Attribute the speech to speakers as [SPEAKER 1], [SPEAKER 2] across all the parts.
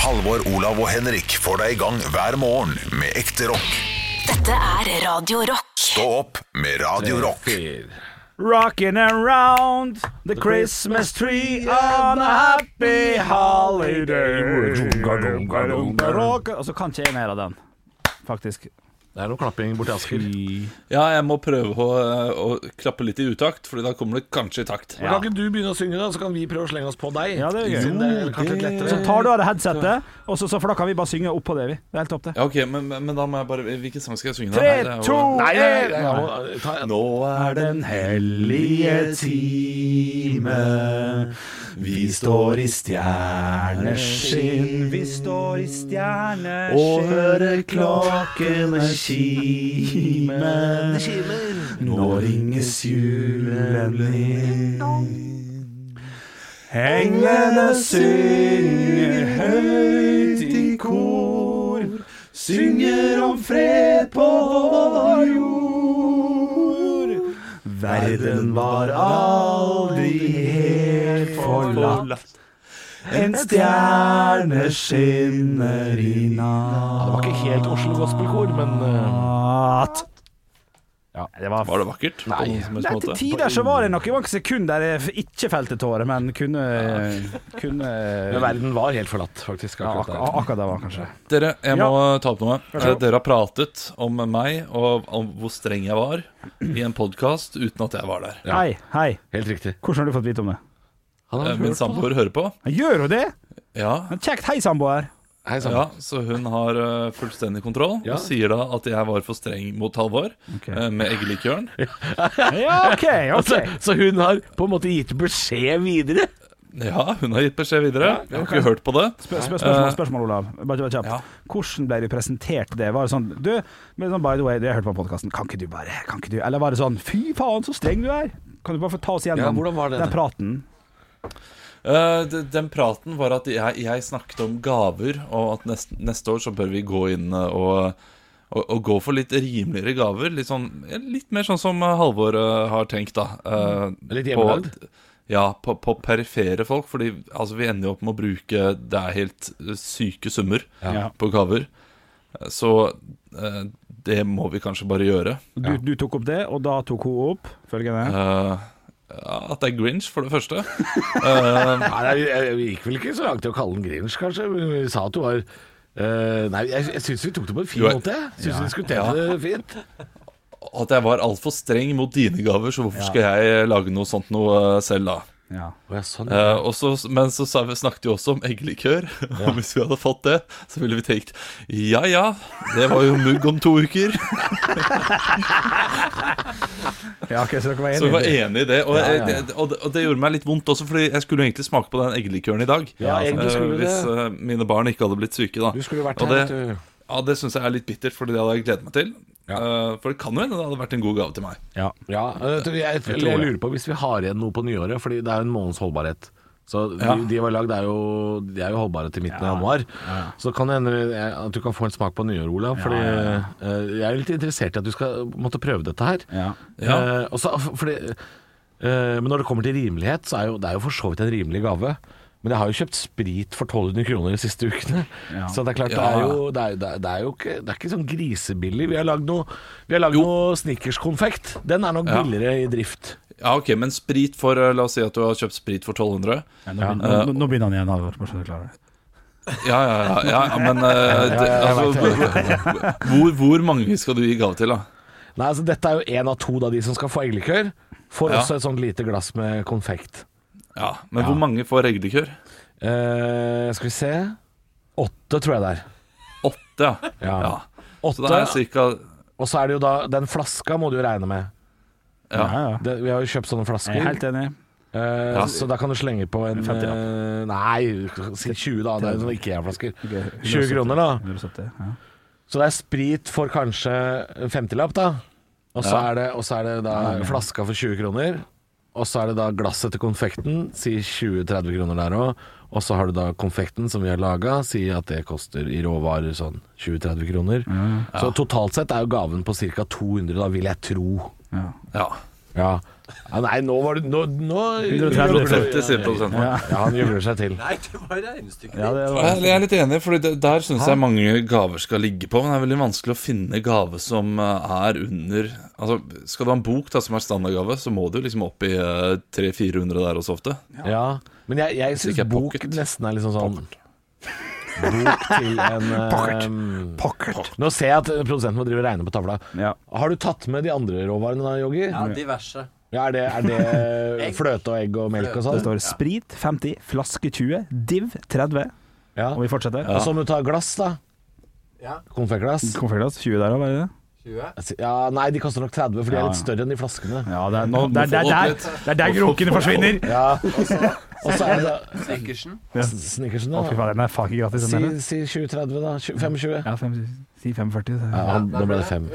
[SPEAKER 1] Halvor, Olav og Henrik får deg i gang hver morgen med ekte rock.
[SPEAKER 2] Dette er Radio Rock.
[SPEAKER 1] Stå opp med Radio Rock.
[SPEAKER 3] Rocking around the Christmas tree on a happy holiday. Rock- Og så kan ikke jeg mer av den, faktisk.
[SPEAKER 4] Det er noe klapping borti Asker. Men
[SPEAKER 5] Ja, jeg må prøve å, eh, å klappe litt i utakt, Fordi da kommer det kanskje i takt.
[SPEAKER 3] Ja.
[SPEAKER 4] Kan ikke du begynne å synge, da, så kan vi prøve å slenge oss på deg?
[SPEAKER 3] Ja, det er gøy.
[SPEAKER 4] Siden det er kanskje litt
[SPEAKER 3] Så
[SPEAKER 4] lettere.
[SPEAKER 3] tar du av deg headsetet, og så, så, for da kan vi bare synge oppå det, vi. Det er helt topp, det.
[SPEAKER 5] Ja, ok, men, men men da må jeg bare Hvilken sang skal jeg synge? da? Her
[SPEAKER 3] Tre,
[SPEAKER 5] er jo-
[SPEAKER 4] Nei,
[SPEAKER 3] to,
[SPEAKER 4] nei, nei,
[SPEAKER 3] én
[SPEAKER 4] jeg må ta en.
[SPEAKER 5] Nå er den hellige time. Vi står i stjerneskinn
[SPEAKER 3] Vi står i stjerner
[SPEAKER 5] og hører klokkene kime. Nå ringes julen inn.
[SPEAKER 3] Englene synger høyt i
[SPEAKER 5] kor, synger om fred på vår jord. Verden var aldri helt forlatt. En stjerne skinner i
[SPEAKER 4] Det var ikke helt Oslo Gospelkor, men eh,
[SPEAKER 3] natt. det var
[SPEAKER 5] Var det vakkert? Nei.
[SPEAKER 3] Nei, til tider så var det nok noen sekunder der jeg ikke felte tårer, men kunne, kunne
[SPEAKER 4] men verden var helt forlatt, faktisk.
[SPEAKER 3] ja,
[SPEAKER 4] Akkurat
[SPEAKER 3] ak
[SPEAKER 4] der.
[SPEAKER 3] akkurat det var kanskje.
[SPEAKER 5] Dere, jeg må ta opp noe.
[SPEAKER 3] så god.
[SPEAKER 5] Eh, Dere har pratet om meg og om hvor streng jeg var i en podkast uten at jeg var der.
[SPEAKER 4] Ja.
[SPEAKER 3] Hei, hei.
[SPEAKER 4] Helt riktig.
[SPEAKER 3] Hvordan har du fått vite om det?
[SPEAKER 4] Han har
[SPEAKER 5] Eh, Min
[SPEAKER 4] hørt på det.
[SPEAKER 5] samboer hører på.
[SPEAKER 3] Han gjør jo det!
[SPEAKER 5] Ja,
[SPEAKER 3] Men Kjekt. Hei, samboer.
[SPEAKER 4] Hei sann.
[SPEAKER 5] ja, så hun har eh, fullstendig kontroll
[SPEAKER 4] Ja.
[SPEAKER 5] og sier da at jeg var for streng mot Halvor eh, med eggelikøren.
[SPEAKER 3] Ja, OK. ok
[SPEAKER 4] Altså, så hun har på en måte gitt beskjed videre?
[SPEAKER 5] Ja, hun har gitt beskjed videre. Jeg har ikke hørt på det.
[SPEAKER 3] Spør, spør, spørsmål,
[SPEAKER 5] Eh,
[SPEAKER 3] spørsmål, Olav. Bare, bare kjapt.
[SPEAKER 5] Ja.
[SPEAKER 3] Hvordan ble du presentert det? Var det sånn Du, men sånn, by the way, du, jeg hørte på podkasten, kan ikke du bare kan ikke du? Eller var det sånn Fy faen, så streng du er! Kan du bare få ta oss
[SPEAKER 4] Ja,
[SPEAKER 3] gjennom
[SPEAKER 4] hvordan var det?
[SPEAKER 3] den praten?
[SPEAKER 5] Eh, de- den praten var at jeg, jeg snakket om gaver, og at neste, neste år så bør vi gå inn eh, og, og, og gå for litt rimeligere gaver. Litt, sånn, ja, litt mer sånn som eh, Halvor eh, har tenkt, da. Eh,
[SPEAKER 4] Litt
[SPEAKER 5] på-
[SPEAKER 4] hjemmelagd?
[SPEAKER 5] Ja, på, på perifere folk. Fordi altså, vi ender jo opp med å bruke Det er helt eh, syke summer
[SPEAKER 3] Ja.
[SPEAKER 5] på gaver. Eh, Så eh, det må vi kanskje bare gjøre.
[SPEAKER 3] Du, du tok opp det, og da tok hun opp følgende.
[SPEAKER 5] Eh, ja, at det er Grinch, for det første.
[SPEAKER 4] Nei, nei, vi- vi gikk vel ikke så langt til å kalle den Grinch, kanskje. men Vi sa at du var eh, nei, jeg, jeg syns vi tok det på en fin
[SPEAKER 5] Jo, jeg-
[SPEAKER 4] måte. jeg. Syns vi
[SPEAKER 5] Ja.
[SPEAKER 4] diskuterte det fint.
[SPEAKER 5] at jeg var altfor streng mot dine gaver, så hvorfor skal jeg lage noe sånt noe eh, selv, da?
[SPEAKER 3] Ja.
[SPEAKER 4] Å, ja, sånn.
[SPEAKER 5] Eh, og så- men så sa vi, snakket vi også om eggelikør, og hvis vi hadde fått det, så ville vi tenkt ja ja, det var jo mugg om to uker.
[SPEAKER 3] ja, ok, så dere var
[SPEAKER 5] Så vi var
[SPEAKER 3] enige?
[SPEAKER 5] enige i det. Og, eh, det- og, det- og det gjorde meg litt vondt også, fordi jeg skulle jo egentlig smake på den eggelikøren i dag.
[SPEAKER 4] Ja, egentlig
[SPEAKER 5] Eh,
[SPEAKER 4] skulle du
[SPEAKER 5] hvis
[SPEAKER 4] det.
[SPEAKER 5] eh, mine barn ikke hadde blitt syke, da.
[SPEAKER 4] Du skulle jo vært her,
[SPEAKER 5] Og det-
[SPEAKER 4] vet du.
[SPEAKER 5] Ja, det syns jeg er litt bittert, Fordi det hadde jeg gledet meg til. Eh, for det kan jo hende det hadde vært en god gave til meg.
[SPEAKER 3] Ja.
[SPEAKER 4] Ja, jeg, tror- jeg, jeg, jeg lurer på hvis vi har igjen noe på nyåret, fordi det er jo en måneds holdbarhet. Så de,
[SPEAKER 5] Ja.
[SPEAKER 4] de var lagd er jo, de er jo holdbare til midten av januar. Så kan det hende eh, at du kan få en smak på nyåret, Olav. Fordi eh, jeg er litt interessert i at du skal måtte prøve dette her.
[SPEAKER 3] Ja.
[SPEAKER 5] Ja.
[SPEAKER 4] Eh, og så- fordi, eh, men når det kommer til rimelighet, så er jo, det er jo for så vidt en rimelig gave. Men jeg har jo kjøpt sprit for 1200 kroner de siste ukene.
[SPEAKER 3] Ja.
[SPEAKER 4] Så det er klart, det,
[SPEAKER 5] Ja.
[SPEAKER 4] er jo, det, er, det, er, det er jo ikke, det er ikke sånn grisebillig. Vi har lagd noe, vi har lagd noe Snickers-konfekt. Den er nok
[SPEAKER 5] Ja.
[SPEAKER 4] billigere i drift.
[SPEAKER 5] Ja, ok, Men sprit for eh, La oss si at du har kjøpt sprit for 1200.
[SPEAKER 3] Ja, nå, begynner, nå, nå begynner han igjen, Halvor. Bare så du klarer det.
[SPEAKER 5] Ja, ja, ja, ja men eh, det, altså, hvor, hvor mange skal du gi gave til, da?
[SPEAKER 4] Nei, altså Dette er jo én av to da, de som skal få eggelikør. Får
[SPEAKER 5] Ja.
[SPEAKER 4] også et sånt lite glass med konfekt.
[SPEAKER 5] Ja, Men hvor mange får eggelikør?
[SPEAKER 4] Eh, skal vi se Åtte, tror jeg det er.
[SPEAKER 5] Åtte, ja.
[SPEAKER 4] Ja.
[SPEAKER 5] ja. Så
[SPEAKER 4] Åtte,
[SPEAKER 5] det er cirka
[SPEAKER 4] Og så er det jo da Den flaska må du jo regne med.
[SPEAKER 5] ja.
[SPEAKER 3] Ja, ja.
[SPEAKER 4] Det, vi har jo kjøpt sånne
[SPEAKER 3] Jeg er
[SPEAKER 4] flasker,
[SPEAKER 3] helt enig.
[SPEAKER 4] eh, så da kan du slenge på en
[SPEAKER 3] 50 lapp.
[SPEAKER 4] eh, Nei, si 20, da. Det er sånne IKEA-flasker. 20 kroner, da.
[SPEAKER 3] 170, ja.
[SPEAKER 4] Så det er sprit for kanskje en 50-lapp, da. Og så
[SPEAKER 5] Ja.
[SPEAKER 4] er, det- og så er det da flaska for 20 kroner. Og så er det da glasset til konfekten, si 20-30 kroner der òg. Og så har du da konfekten som vi har laga, si at det koster i råvarer sånn 20-30 kroner.
[SPEAKER 3] Mm.
[SPEAKER 4] Så totalt sett er jo gaven på ca. 200, da vil jeg tro.
[SPEAKER 3] Ja.
[SPEAKER 5] ja.
[SPEAKER 4] Ja. Ja, nei, nå var det Nå, nå
[SPEAKER 3] 130.
[SPEAKER 5] 50, sier produsenten.
[SPEAKER 3] Ja.
[SPEAKER 4] Ja, han jubler seg til.
[SPEAKER 6] Nei, det var regnestykket
[SPEAKER 3] Ja, det var
[SPEAKER 5] Jeg jeg er litt enig, for der syns jeg mange gaver skal ligge på. Men det er veldig vanskelig å finne gave som eh, er under Altså, Skal du ha en bok da som er standardgave, så må du liksom opp i eh, 300-400 der også ofte.
[SPEAKER 4] Ja, men jeg, jeg syns
[SPEAKER 5] ikke er
[SPEAKER 4] bok
[SPEAKER 5] pocket.
[SPEAKER 4] nesten er litt sånn sånn Bok til en ehm,
[SPEAKER 3] Pocket.
[SPEAKER 4] Nå ser jeg at produsenten må drive og regne på tavla.
[SPEAKER 3] Ja.
[SPEAKER 4] Har du tatt med de andre råvarene da, Yogi?
[SPEAKER 6] Ja, diverse.
[SPEAKER 4] Ja, er det, er det fløte og egg og melk og
[SPEAKER 3] Det
[SPEAKER 4] sånn?
[SPEAKER 3] står sprit 50, flaske 20, div 30,
[SPEAKER 4] Ja.
[SPEAKER 3] og vi fortsetter.
[SPEAKER 4] Og så må du ta glass, da.
[SPEAKER 6] Ja,
[SPEAKER 4] Konfektglass.
[SPEAKER 3] Konfektglass 20 der òg, var det det?
[SPEAKER 6] 20.
[SPEAKER 4] Ja, nei, de koster nok 30, for de
[SPEAKER 3] Ja,
[SPEAKER 4] er
[SPEAKER 3] ja.
[SPEAKER 4] litt større enn de flaskene.
[SPEAKER 3] Ja, det er,
[SPEAKER 5] Nå- nå
[SPEAKER 3] det er, det er,
[SPEAKER 5] får du opp
[SPEAKER 3] der-
[SPEAKER 5] litt.
[SPEAKER 3] det er der grokene forsvinner!
[SPEAKER 4] Ja, og så er det
[SPEAKER 6] Sikkersen.
[SPEAKER 4] snickersen,
[SPEAKER 3] Å, fy
[SPEAKER 4] da.
[SPEAKER 3] faen, den er faen ikke gratis.
[SPEAKER 4] Si,
[SPEAKER 3] den der.
[SPEAKER 4] si 20-30, da. 25?
[SPEAKER 3] Ja, fem- si 45. så-
[SPEAKER 4] Ja, han- da ble det 5.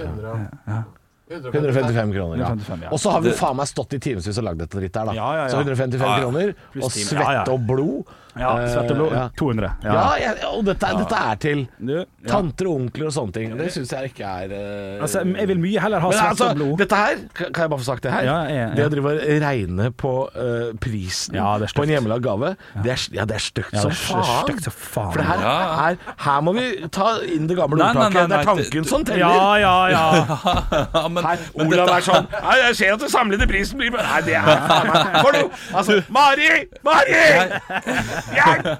[SPEAKER 4] Ja. 155 kroner, ja.
[SPEAKER 3] 155, ja.
[SPEAKER 4] Og så har vi faen meg stått i timevis og lagd dette dritt her, da.
[SPEAKER 3] Ja, ja, ja.
[SPEAKER 4] Så 155
[SPEAKER 5] Ja, ja.
[SPEAKER 4] kroner,
[SPEAKER 3] Pluss
[SPEAKER 4] og
[SPEAKER 3] timer.
[SPEAKER 4] svette
[SPEAKER 3] Ja, ja.
[SPEAKER 4] og blod.
[SPEAKER 3] Ja, svett og blod.
[SPEAKER 4] Eh, ja.
[SPEAKER 3] 200.
[SPEAKER 4] Ja, jeg- og dette, dette er til
[SPEAKER 3] Du, ja.
[SPEAKER 4] tanter og onkler og sånne ting. Det syns jeg ikke er eh,
[SPEAKER 3] Altså, jeg vil mye heller ha
[SPEAKER 4] Men
[SPEAKER 3] svett
[SPEAKER 4] altså,
[SPEAKER 3] og blod.
[SPEAKER 4] dette her, kan kan jeg bare få sagt det her?
[SPEAKER 3] Ja, ja, ja.
[SPEAKER 4] Det å drive og regne på eh, prisen
[SPEAKER 3] Ja, det er
[SPEAKER 4] på en
[SPEAKER 3] stygt.
[SPEAKER 4] hjemmelagd gave, det er, ja, det er stygt
[SPEAKER 3] Ja,
[SPEAKER 4] som
[SPEAKER 3] det er
[SPEAKER 4] faen.
[SPEAKER 3] stygt som faen.
[SPEAKER 4] For det her,
[SPEAKER 5] Ja.
[SPEAKER 4] her, her må vi ta inn det gamle
[SPEAKER 5] Nei, nei,
[SPEAKER 4] ordtaket.
[SPEAKER 5] nei,
[SPEAKER 4] Det er
[SPEAKER 5] nei, det-
[SPEAKER 3] sånn
[SPEAKER 4] tanken som teller.
[SPEAKER 3] Ja, ja, ja.
[SPEAKER 5] Ja, men,
[SPEAKER 4] Her,
[SPEAKER 5] men
[SPEAKER 4] Olav
[SPEAKER 5] dette-
[SPEAKER 4] er sånn Nei, jeg ser at den samlede prisen blir Nei, det er faen meg For noe! Altså, Mari! Mari! Hjelp!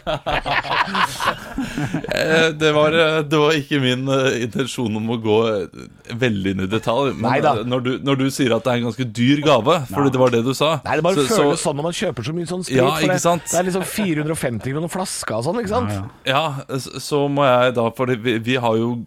[SPEAKER 5] Eh, det, var, eh, det var ikke min eh, intensjon om å gå eh, veldig inn i detalj. Men
[SPEAKER 4] Neida.
[SPEAKER 5] eh, når du, når du sier at det er en ganske dyr gave, fordi det var det du sa
[SPEAKER 4] Nei, det bare
[SPEAKER 5] så-
[SPEAKER 4] føles
[SPEAKER 5] så-
[SPEAKER 4] sånn når man kjøper så mye sånn sprit.
[SPEAKER 5] Ja,
[SPEAKER 4] for det-
[SPEAKER 5] ikke sant?
[SPEAKER 4] Det er liksom 450 kroner flaska og sånn, ikke sant?
[SPEAKER 5] Ja, så så må jeg da For vi, vi har jo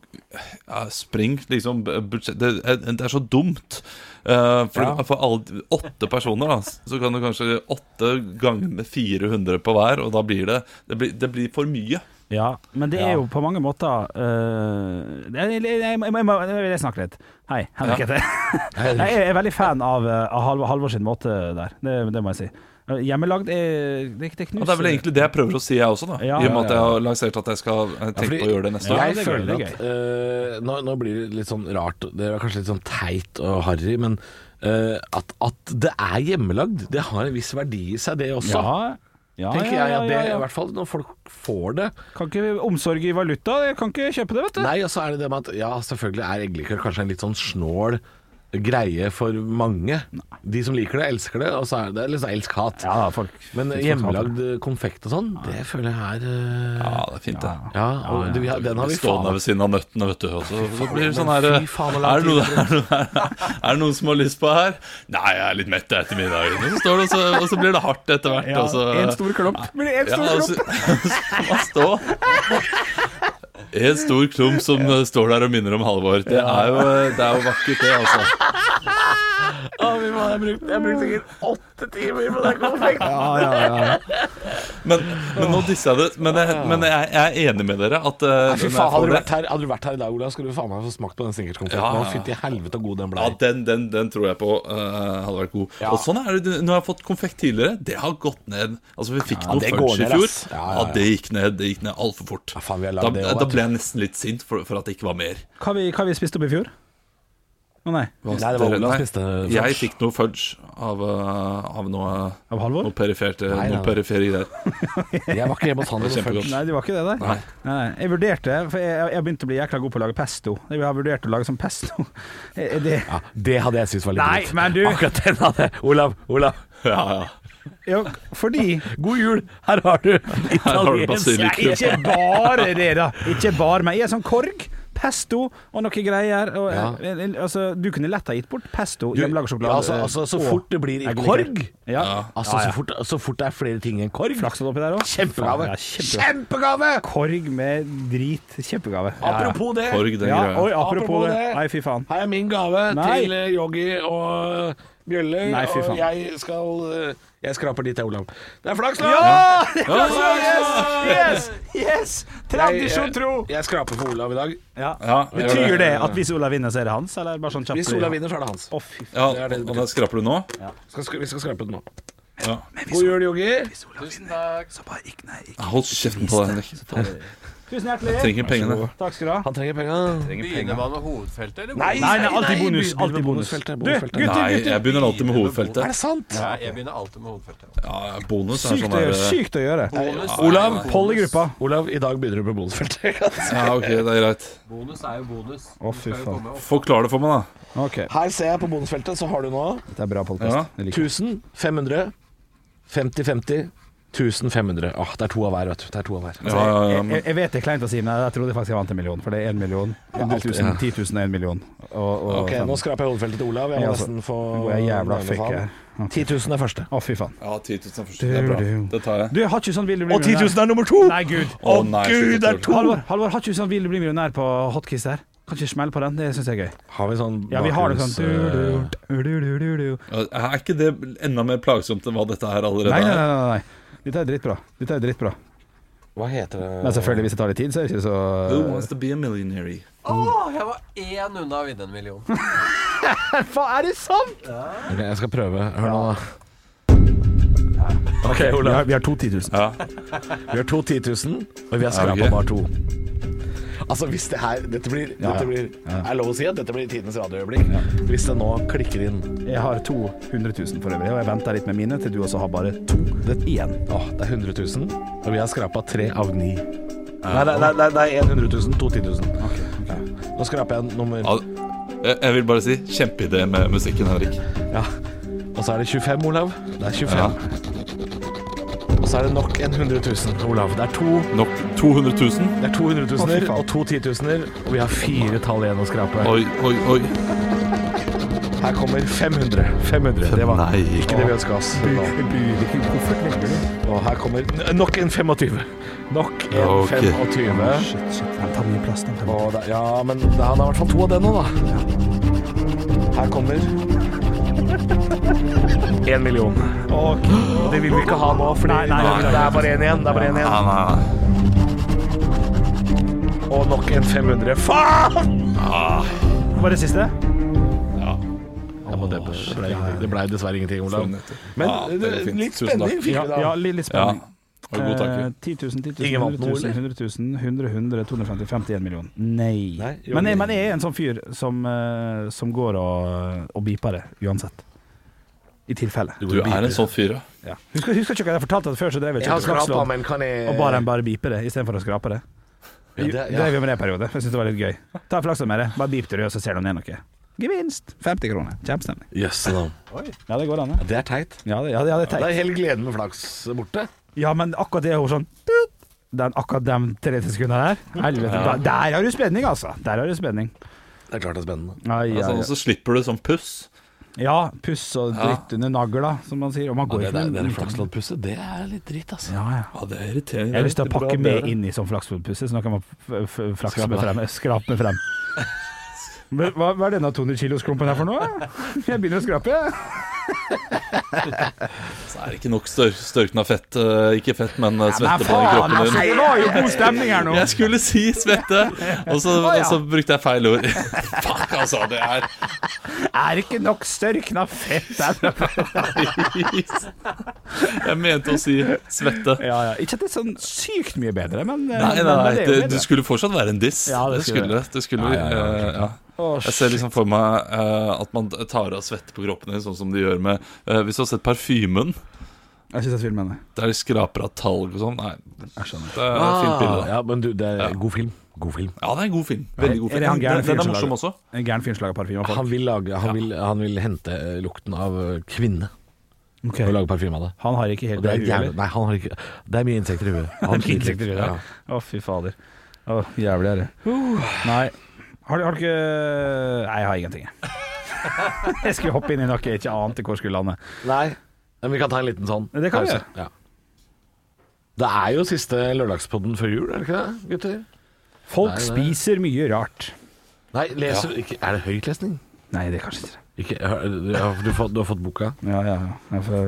[SPEAKER 5] ja, sprengt liksom budsjett det, er- det er så dumt. Eh, for for alle, åtte personer, da, så kan du kanskje åtte ganger med 400 på hver, og da blir det Det blir, det blir for mye.
[SPEAKER 3] Ja, men det er jo på mange måter øh, jeg, jeg, jeg, jeg, jeg, må- jeg vil snakke litt. Hei, Henrik
[SPEAKER 5] Ja.
[SPEAKER 3] heter jeg. Jeg er veldig fan av, øh, av Halvor, Halvor sin måte der, det, det må jeg si. Øh, Hjemmelagd er det, det knuser
[SPEAKER 5] Og det er vel egentlig det jeg prøver å si, jeg også, da.
[SPEAKER 3] Ja,
[SPEAKER 5] I og med
[SPEAKER 3] ja,
[SPEAKER 5] at jeg har lansert at jeg skal eh, tenke
[SPEAKER 4] fordi-
[SPEAKER 5] på å gjøre det neste
[SPEAKER 3] Ja,
[SPEAKER 5] år.
[SPEAKER 4] Jeg
[SPEAKER 3] det er gøy,
[SPEAKER 4] føler
[SPEAKER 3] det er
[SPEAKER 4] at øh, nå, nå blir det litt sånn rart, det er kanskje litt sånn teit og harry, men øh, at, at det er hjemmelagd, det har en viss verdi i seg, det også.
[SPEAKER 3] Ja, ja,
[SPEAKER 4] Tenker
[SPEAKER 3] ja,
[SPEAKER 4] jeg
[SPEAKER 3] ja,
[SPEAKER 4] at det,
[SPEAKER 3] ja,
[SPEAKER 4] i
[SPEAKER 3] ja.
[SPEAKER 4] hvert fall når folk får det
[SPEAKER 3] Kan ikke omsorg i valuta, jeg kan ikke kjøpe det, vet du.
[SPEAKER 4] Nei, og så er det det med at ja, selvfølgelig er eggelikør kanskje en litt sånn snål greie for mange. De som liker det, elsker det, og så er det litt sånn elsk-hat.
[SPEAKER 3] Ja, da, folk
[SPEAKER 4] Men
[SPEAKER 3] folk-
[SPEAKER 4] hjemmelagd konfekt og sånn, det føler jeg er øh,
[SPEAKER 5] Ja, det er fint, det.
[SPEAKER 4] Ja, og det- vi har- den har vi
[SPEAKER 5] Stående
[SPEAKER 4] faen
[SPEAKER 5] ved siden av nøttene, vet du. Og så, så blir det
[SPEAKER 4] men
[SPEAKER 5] sånn her
[SPEAKER 4] fy
[SPEAKER 5] eh,
[SPEAKER 4] faen, hvor lang
[SPEAKER 5] er det, noe,
[SPEAKER 4] tid
[SPEAKER 5] er, det, er det noen som har lyst på her? Nei, jeg er litt mett etter middagen. Og så, står det, og så, og så blir det hardt etter hvert.
[SPEAKER 3] Ja,
[SPEAKER 5] og så,
[SPEAKER 3] en stor klump. Blir det en
[SPEAKER 5] eh, ja, altså-
[SPEAKER 3] stor
[SPEAKER 5] og
[SPEAKER 3] klump?
[SPEAKER 5] så, så kan man stå. En stor klump som eh, står der og minner om Halvor. Det er jo, eh, det er jo vakkert, det, altså.
[SPEAKER 4] Jeg har brukt, jeg har brukt sikkert åtte timer på den konfekten.
[SPEAKER 5] Men, men nå disser jeg det. Men, jeg, men jeg, jeg er enig med dere at eh,
[SPEAKER 4] Fy
[SPEAKER 5] når
[SPEAKER 4] faen,
[SPEAKER 5] jeg får
[SPEAKER 4] hadde du,
[SPEAKER 5] det-
[SPEAKER 4] vært her, hadde du vært her i dag, Olav, skulle du faen meg få smakt på den snickerskonfekten.
[SPEAKER 5] Ja, ja,
[SPEAKER 4] Ja,
[SPEAKER 5] ja.
[SPEAKER 4] Fytti helvete god den blei.
[SPEAKER 5] Ja, den, den, den tror jeg på eh, hadde vært god.
[SPEAKER 4] Ja.
[SPEAKER 5] Og sånn er det Når jeg har fått konfekt tidligere, det har gått ned. Altså Vi fikk noe
[SPEAKER 4] det går
[SPEAKER 5] fudge i
[SPEAKER 4] ned,
[SPEAKER 5] fjor.
[SPEAKER 4] ass.
[SPEAKER 5] Ja,
[SPEAKER 4] Ja, ja, ja.
[SPEAKER 5] Det gikk ned det gikk ned altfor fort.
[SPEAKER 4] Ja, faen, vi har lagd
[SPEAKER 5] da,
[SPEAKER 4] det også,
[SPEAKER 5] da
[SPEAKER 4] vet du.
[SPEAKER 5] ble jeg nesten litt sint for, for at det ikke var mer.
[SPEAKER 3] Hva vi, hva vi spiste opp i fjor? Å nei,
[SPEAKER 5] Hva-
[SPEAKER 4] Nei, det var Olav
[SPEAKER 5] Nei,
[SPEAKER 4] som spiste fudge.
[SPEAKER 5] Jeg fikk noe fudge av, eh, av noe,
[SPEAKER 3] av Halvor?
[SPEAKER 5] noe periferte
[SPEAKER 4] Nei, nei,
[SPEAKER 5] noe
[SPEAKER 4] nei.
[SPEAKER 5] perifere greier.
[SPEAKER 4] Jeg var ikke hjemme hos han. men-
[SPEAKER 5] Det var kjempegodt.
[SPEAKER 3] Nei, det var ikke det der.
[SPEAKER 5] Nei.
[SPEAKER 3] Nei, nei. jeg vurderte, for jeg, jeg begynte å bli jækla god på å lage pesto. Jeg har vurdert å lage sånn pesto. Er det,
[SPEAKER 4] Ja, det hadde jeg syntes var litt
[SPEAKER 3] Nei,
[SPEAKER 4] dritt.
[SPEAKER 3] men du-
[SPEAKER 4] Akkurat den hadde jeg. Olav, Olav.
[SPEAKER 5] Ja, ja.
[SPEAKER 3] ja, fordi
[SPEAKER 4] God jul! Her har du
[SPEAKER 5] har du
[SPEAKER 4] italiensk
[SPEAKER 5] basilikum.
[SPEAKER 4] Nei,
[SPEAKER 3] Ikke bare det, da. Ikke bare meg. Jeg er sånn korg. Pesto og noe greier. Og,
[SPEAKER 4] Ja.
[SPEAKER 3] eh, eh, altså, du kunne lett ha gitt bort pesto,
[SPEAKER 4] Du-
[SPEAKER 3] hjemmelaga sjokolade
[SPEAKER 4] ja, altså, altså, så
[SPEAKER 3] og
[SPEAKER 4] fort det blir i
[SPEAKER 3] eggelikør.
[SPEAKER 4] korg
[SPEAKER 3] Ja.
[SPEAKER 4] Altså, Så, fort, så fort det er flere ting enn korg
[SPEAKER 3] Flaks oppi der òg.
[SPEAKER 4] Kjempegave!
[SPEAKER 3] Ja, kjempegave.
[SPEAKER 4] Kjempegave!
[SPEAKER 3] Korg med drit. Kjempegave. Ja, ja.
[SPEAKER 4] Apropos det.
[SPEAKER 5] Korg, den
[SPEAKER 3] ja,
[SPEAKER 5] greia.
[SPEAKER 3] oi, apropos,
[SPEAKER 4] Apropos
[SPEAKER 3] det.
[SPEAKER 4] det.
[SPEAKER 3] Nei, fy faen.
[SPEAKER 4] Her er min gave
[SPEAKER 3] Nei.
[SPEAKER 4] til eh, Yogi og Bjøller.
[SPEAKER 3] Nei, fy faen.
[SPEAKER 4] Og jeg skal eh, Jeg skraper dit, jeg, Olav. Det er flaks, da!
[SPEAKER 3] Ja! det er
[SPEAKER 5] Ja.
[SPEAKER 3] så- Yes! Yes! yes. Tradisjon tro!
[SPEAKER 4] Jeg, jeg skraper for Olav i dag.
[SPEAKER 3] Ja.
[SPEAKER 5] Ja, jeg gjør
[SPEAKER 3] Betyr det at hvis Olav vinner, så er det hans? Eller bare sånn kjapt?
[SPEAKER 4] Hvis Olav vinner, så er det hans.
[SPEAKER 3] Å, fy faen.
[SPEAKER 5] ja,
[SPEAKER 4] Det er det det
[SPEAKER 5] og da skraper du nå?
[SPEAKER 4] Skal, sk- vi skal skrape det nå.
[SPEAKER 5] Ja.
[SPEAKER 4] God jul, Yogi.
[SPEAKER 3] Så bare ikke, nei, ikke.
[SPEAKER 5] Hold kjeften på deg, Henrik.
[SPEAKER 3] Tusen hjertelig.
[SPEAKER 5] Jeg trenger pengene.
[SPEAKER 3] Takk skal du ha.
[SPEAKER 4] Han trenger penga.
[SPEAKER 6] Begynner man med hovedfeltet, eller?
[SPEAKER 4] Nei,
[SPEAKER 3] Nei, nei, alltid
[SPEAKER 4] nei,
[SPEAKER 3] bonus.
[SPEAKER 4] begynner
[SPEAKER 3] Alltid
[SPEAKER 4] med
[SPEAKER 3] bonus.
[SPEAKER 4] bonusfeltet,
[SPEAKER 3] Du,
[SPEAKER 4] bonusfeltet.
[SPEAKER 3] gutter,
[SPEAKER 5] Nei, jeg
[SPEAKER 3] gutter!
[SPEAKER 5] begynner alltid med
[SPEAKER 4] Er
[SPEAKER 5] hovedfeltet.
[SPEAKER 4] det sant?
[SPEAKER 6] Nei, jeg begynner alltid med hovedfeltet.
[SPEAKER 5] Ja, bonus er
[SPEAKER 3] Sykt
[SPEAKER 5] sånn
[SPEAKER 3] å gjøre.
[SPEAKER 5] der-
[SPEAKER 3] Sykt å gjøre.
[SPEAKER 6] Bonus er
[SPEAKER 5] Olav,
[SPEAKER 6] jo bonus.
[SPEAKER 3] Pollegruppa.
[SPEAKER 4] Olav, i dag begynner du med bonusfeltet.
[SPEAKER 5] Ja, ok, det er greit.
[SPEAKER 6] Bonus er jo bonus.
[SPEAKER 3] Å, fy
[SPEAKER 6] Den skal jo
[SPEAKER 3] faen.
[SPEAKER 6] komme opp.
[SPEAKER 5] Forklar det for meg, da.
[SPEAKER 3] Ok,
[SPEAKER 4] Her ser jeg på bonusfeltet, så har du nå
[SPEAKER 3] det er bra
[SPEAKER 5] Ja.
[SPEAKER 3] podkast.
[SPEAKER 4] 1000, 500, 50, 50, 1500. Åh, det er to av hver, vet du. Det er to av hver.
[SPEAKER 5] Ja, ja, ja,
[SPEAKER 3] Jeg,
[SPEAKER 5] men
[SPEAKER 3] jeg vet det er kleint å si, men jeg trodde faktisk jeg vant en million. For det er en million, 100 000, 10 000 og en million. Og, og,
[SPEAKER 4] Ok, nå skraper jeg hodefeltet til Olav. Jeg
[SPEAKER 3] Ja,
[SPEAKER 4] må
[SPEAKER 3] altså,
[SPEAKER 4] nesten få
[SPEAKER 3] nå går jeg jævla fuck her.
[SPEAKER 4] 10 000 er første.
[SPEAKER 3] Å, fy faen.
[SPEAKER 5] ja 10 000 er først. Det er bra. Det tar jeg.
[SPEAKER 3] Du, har ikke sånn vil du bli
[SPEAKER 4] Og 10 000 er nummer to!
[SPEAKER 3] Nei, gud.
[SPEAKER 5] Å nei,
[SPEAKER 4] Gud, det er to.
[SPEAKER 3] Halvor, Halvor, har ikke sånn vil du bli millionær på hotkiss der? Kan ikke smelle på den, det syns jeg er gøy.
[SPEAKER 4] Har vi sånn
[SPEAKER 3] Ja, vi har det sånn
[SPEAKER 4] bakgrunns, eh,
[SPEAKER 3] du, du, du, du, du.
[SPEAKER 5] Ja, Er ikke det enda mer plagsomt enn hva dette her allerede
[SPEAKER 3] Nei, nei, nei.
[SPEAKER 5] er?
[SPEAKER 3] nei, nei. Dette er dritbra. Dette er dritbra.
[SPEAKER 4] Hva heter det
[SPEAKER 3] Men selvfølgelig, hvis det tar litt tid, så er det ikke så
[SPEAKER 5] Who wants to be a millionaire?
[SPEAKER 6] Åh, jeg var én unna å vinne en million.
[SPEAKER 3] Faen, er det sant?!
[SPEAKER 4] Ok, Jeg skal prøve. Hør nå, da.
[SPEAKER 5] Ok,
[SPEAKER 3] Vi har, vi har to 10 000.
[SPEAKER 5] Ja.
[SPEAKER 4] Vi har to 10 000, og vi har
[SPEAKER 5] Ja,
[SPEAKER 4] skrapa
[SPEAKER 5] ok.
[SPEAKER 4] bare to. Altså, hvis det her Dette blir,
[SPEAKER 3] Ja,
[SPEAKER 4] dette
[SPEAKER 3] ja.
[SPEAKER 4] blir Er lov å si at dette blir tidens radioøyeblikk? Hvis det nå klikker inn
[SPEAKER 3] Jeg har 200 000 for øvrig, og jeg venter litt med mine til du også har bare to
[SPEAKER 4] det,
[SPEAKER 3] igjen.
[SPEAKER 4] Åh, det er 100 000, og vi har skrapa tre av ni. Nei, nei, nei, nei, nei 100 000, to 10 000. Ja. Nå skraper jeg en nummer
[SPEAKER 5] Ja, Jeg jeg vil bare si kjempeidé med musikken, Henrik.
[SPEAKER 4] Ja. Og så er det 25, Olav. Det er 25. Og så er det nok en 100 000, Olav. Det er to,
[SPEAKER 5] Nok 200 000.
[SPEAKER 4] det er 200
[SPEAKER 3] Å, fy
[SPEAKER 4] 000
[SPEAKER 3] faen.
[SPEAKER 4] og to 10 000, og vi har fire tall igjen å skrape.
[SPEAKER 5] Oi, oi, oi.
[SPEAKER 4] Her kommer 500. 500. Det var
[SPEAKER 5] Nei.
[SPEAKER 4] ikke det vi ønska oss.
[SPEAKER 3] Hvorfor legger du det?
[SPEAKER 4] Og her kommer n- nok en 25. Nok en
[SPEAKER 5] Ok.
[SPEAKER 4] 25.
[SPEAKER 3] Shit, shit. Den tar mye plass, den. tar mye
[SPEAKER 4] Og det, ja, men det han har i hvert fall to av det nå, da. Her kommer Én million. Og det vil vi ikke ha nå, for det
[SPEAKER 5] nei, nei.
[SPEAKER 4] er bare én igjen. Det er bare én igjen.
[SPEAKER 5] Ja, nei, nei.
[SPEAKER 4] Og nok en 500. Faen! Ah.
[SPEAKER 3] plass. Var det siste?
[SPEAKER 4] det, ble, det ble dessverre ingenting, Olav.
[SPEAKER 5] Sånn heter det.
[SPEAKER 4] Men
[SPEAKER 5] Ja,
[SPEAKER 4] Ah,
[SPEAKER 5] det
[SPEAKER 4] det,
[SPEAKER 5] er fint.
[SPEAKER 4] litt
[SPEAKER 5] Tusen takk.
[SPEAKER 4] spenning fikk
[SPEAKER 3] Ja,
[SPEAKER 4] vi da.
[SPEAKER 3] ja litt, litt
[SPEAKER 5] Ja.
[SPEAKER 3] spenning.
[SPEAKER 5] Og
[SPEAKER 3] Eh,
[SPEAKER 5] god takk.
[SPEAKER 3] 10 000, 10 000,
[SPEAKER 4] Ingen vant
[SPEAKER 3] 100
[SPEAKER 4] noe,
[SPEAKER 3] 000, 100 000, 100 100, 250 50, 1 million. Nei.
[SPEAKER 4] Nei, jo,
[SPEAKER 3] men,
[SPEAKER 4] det-
[SPEAKER 3] jeg, men jeg er en sånn fyr som, eh, som går og, og beeper det, uansett. I tilfelle.
[SPEAKER 5] Du er en sånn fyr, ja.
[SPEAKER 3] Ja. Husker, husker ikke hva jeg fortalte at før, så drev jeg
[SPEAKER 4] Jeg har
[SPEAKER 3] og kjøpte
[SPEAKER 4] skrapa,
[SPEAKER 3] Flaxlodd,
[SPEAKER 4] men kan jeg
[SPEAKER 3] og bare en bare beeper det, istedenfor å skrape det.
[SPEAKER 4] Ja, det- ja.
[SPEAKER 3] Drev jo med det en periode, for jeg syntes det var litt gøy. Ta Flaxlodd med det, bare beep det, og så ser du om det er noe. Gevinst! 50 kroner. Kjempestemning.
[SPEAKER 4] Jøsse navn.
[SPEAKER 3] Ja, det går an, det.
[SPEAKER 4] Det er teit.
[SPEAKER 3] Ja, det, ja, det, ja, det er
[SPEAKER 4] Det
[SPEAKER 3] teit.
[SPEAKER 4] er hele gleden med flaks borte.
[SPEAKER 3] Ja, men akkurat det er jo sånn den, Akkurat de 30 sekundene der Helvete, da, der har du spenning altså Der har du spenning
[SPEAKER 4] Det er klart det er spennende.
[SPEAKER 3] Ai,
[SPEAKER 5] Ja,
[SPEAKER 3] ai,
[SPEAKER 5] sånn,
[SPEAKER 3] ai.
[SPEAKER 5] så slipper du sånn puss.
[SPEAKER 3] Ja, puss og dritt under nagler da Som man sier Og man går
[SPEAKER 4] det,
[SPEAKER 3] ikke
[SPEAKER 4] der,
[SPEAKER 3] med-
[SPEAKER 4] det der flaksloddpusset, det er litt dritt, altså.
[SPEAKER 3] ja, ja.
[SPEAKER 5] Ja, det er irriterende.
[SPEAKER 3] Jeg har lyst til å
[SPEAKER 5] Det er
[SPEAKER 3] pakke
[SPEAKER 5] bra
[SPEAKER 3] med
[SPEAKER 5] dere.
[SPEAKER 3] inn i sånn flaksfotpusse Så nå kan man f- f- flakse
[SPEAKER 4] Skrape
[SPEAKER 3] med
[SPEAKER 4] deg.
[SPEAKER 3] frem eh, Skrape med frem Men hva, hva er denne 200 kilos klumpen her for nå? Jeg begynner å skrape jeg.
[SPEAKER 5] Så er det ikke nok stør størkna fett. eh, Ikke fett, men eh,
[SPEAKER 3] Nei,
[SPEAKER 5] svette på
[SPEAKER 3] faen
[SPEAKER 5] kroppen
[SPEAKER 3] altså,
[SPEAKER 5] din.
[SPEAKER 3] det var jo god stemning her nå
[SPEAKER 5] Jeg skulle si svette, og så,
[SPEAKER 3] Å, ja.
[SPEAKER 5] og så brukte jeg feil ord. Fuck, altså. Det er
[SPEAKER 3] Er det ikke nok størkna fett der?
[SPEAKER 5] Jeg mente å si svette.
[SPEAKER 3] Ja, ja. Ikke at det er sånn sykt mye bedre Men, eh,
[SPEAKER 5] Nei, nei,
[SPEAKER 3] men det
[SPEAKER 5] nei.
[SPEAKER 3] er jo
[SPEAKER 5] Det,
[SPEAKER 3] bedre.
[SPEAKER 5] du skulle fortsatt være en diss.
[SPEAKER 3] Ja, det
[SPEAKER 5] det
[SPEAKER 3] skulle
[SPEAKER 5] skulle det. det skulle, eh, ja.
[SPEAKER 3] Å,
[SPEAKER 5] Jeg ser liksom for meg eh, at man tar av svette på kroppen din, sånn som de gjør med eh, Hvis du har sett parfymen,
[SPEAKER 3] Jeg synes jeg filmen er
[SPEAKER 5] der de skraper av talg og sånn. Nei, det er et fint
[SPEAKER 4] Ah,
[SPEAKER 5] bilde.
[SPEAKER 4] ja, men du, det er god film. God film.
[SPEAKER 5] Ja, det er en god film. Veldig
[SPEAKER 3] Er
[SPEAKER 5] god
[SPEAKER 3] det
[SPEAKER 5] film.
[SPEAKER 3] han
[SPEAKER 5] Den,
[SPEAKER 3] gærne
[SPEAKER 5] den, den
[SPEAKER 3] fyren
[SPEAKER 5] er
[SPEAKER 3] som
[SPEAKER 5] morsom
[SPEAKER 3] lager-
[SPEAKER 5] også.
[SPEAKER 3] En gæren fyr som lager parfyme av folk.
[SPEAKER 4] Han vil, lage, han, vil, han vil hente eh, lukten av eh, kvinne
[SPEAKER 3] Ok.
[SPEAKER 4] og lage parfyme av det.
[SPEAKER 3] Han har ikke helt
[SPEAKER 4] Og det er
[SPEAKER 3] hue,
[SPEAKER 4] jævlig
[SPEAKER 3] eller?
[SPEAKER 4] Nei, han har ikke Det er mye insekter i huet. Han
[SPEAKER 3] Mye insekter i huet, ja.
[SPEAKER 4] Ja.
[SPEAKER 3] Å, fy fader. Å, jævlig er det. Nei. Har du, har du ikke Nei, jeg har ingenting, jeg. Jeg skulle hoppe inn i noe jeg ikke ante hvor skulle lande.
[SPEAKER 4] Nei, men vi kan ta en liten sånn.
[SPEAKER 3] Det kan vi
[SPEAKER 4] pause. Ja. Det er jo siste lørdagspodden før jul, er det ikke det, gutter?
[SPEAKER 3] Folk
[SPEAKER 4] Nei, det-
[SPEAKER 3] spiser mye rart.
[SPEAKER 4] Nei, leser ikke, Er det høytlesning?
[SPEAKER 3] Nei, det er kanskje ikke det.
[SPEAKER 4] Ikke, hør, du, har, du, har fått- du har fått boka?
[SPEAKER 3] Ja, ja, ja. Jeg får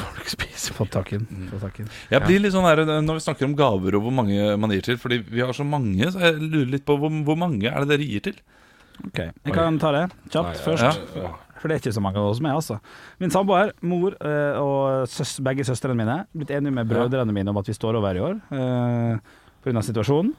[SPEAKER 4] Folk spiser Mm.
[SPEAKER 3] fått tak i den. Fått tak i den.
[SPEAKER 5] Jeg blir litt sånn her eh, når vi snakker om gaver og hvor mange man gir til, fordi vi har så mange, så jeg lurer litt på hvor, hvor mange er det dere gir til?
[SPEAKER 3] OK. Jeg kan ta det kjapt
[SPEAKER 5] Ja.
[SPEAKER 3] først. For det er ikke så mange av oss med, altså. Min samboer, mor eh, og søs, begge søstrene mine blitt enige med brødrene mine om at vi står over i år eh, pga. situasjonen.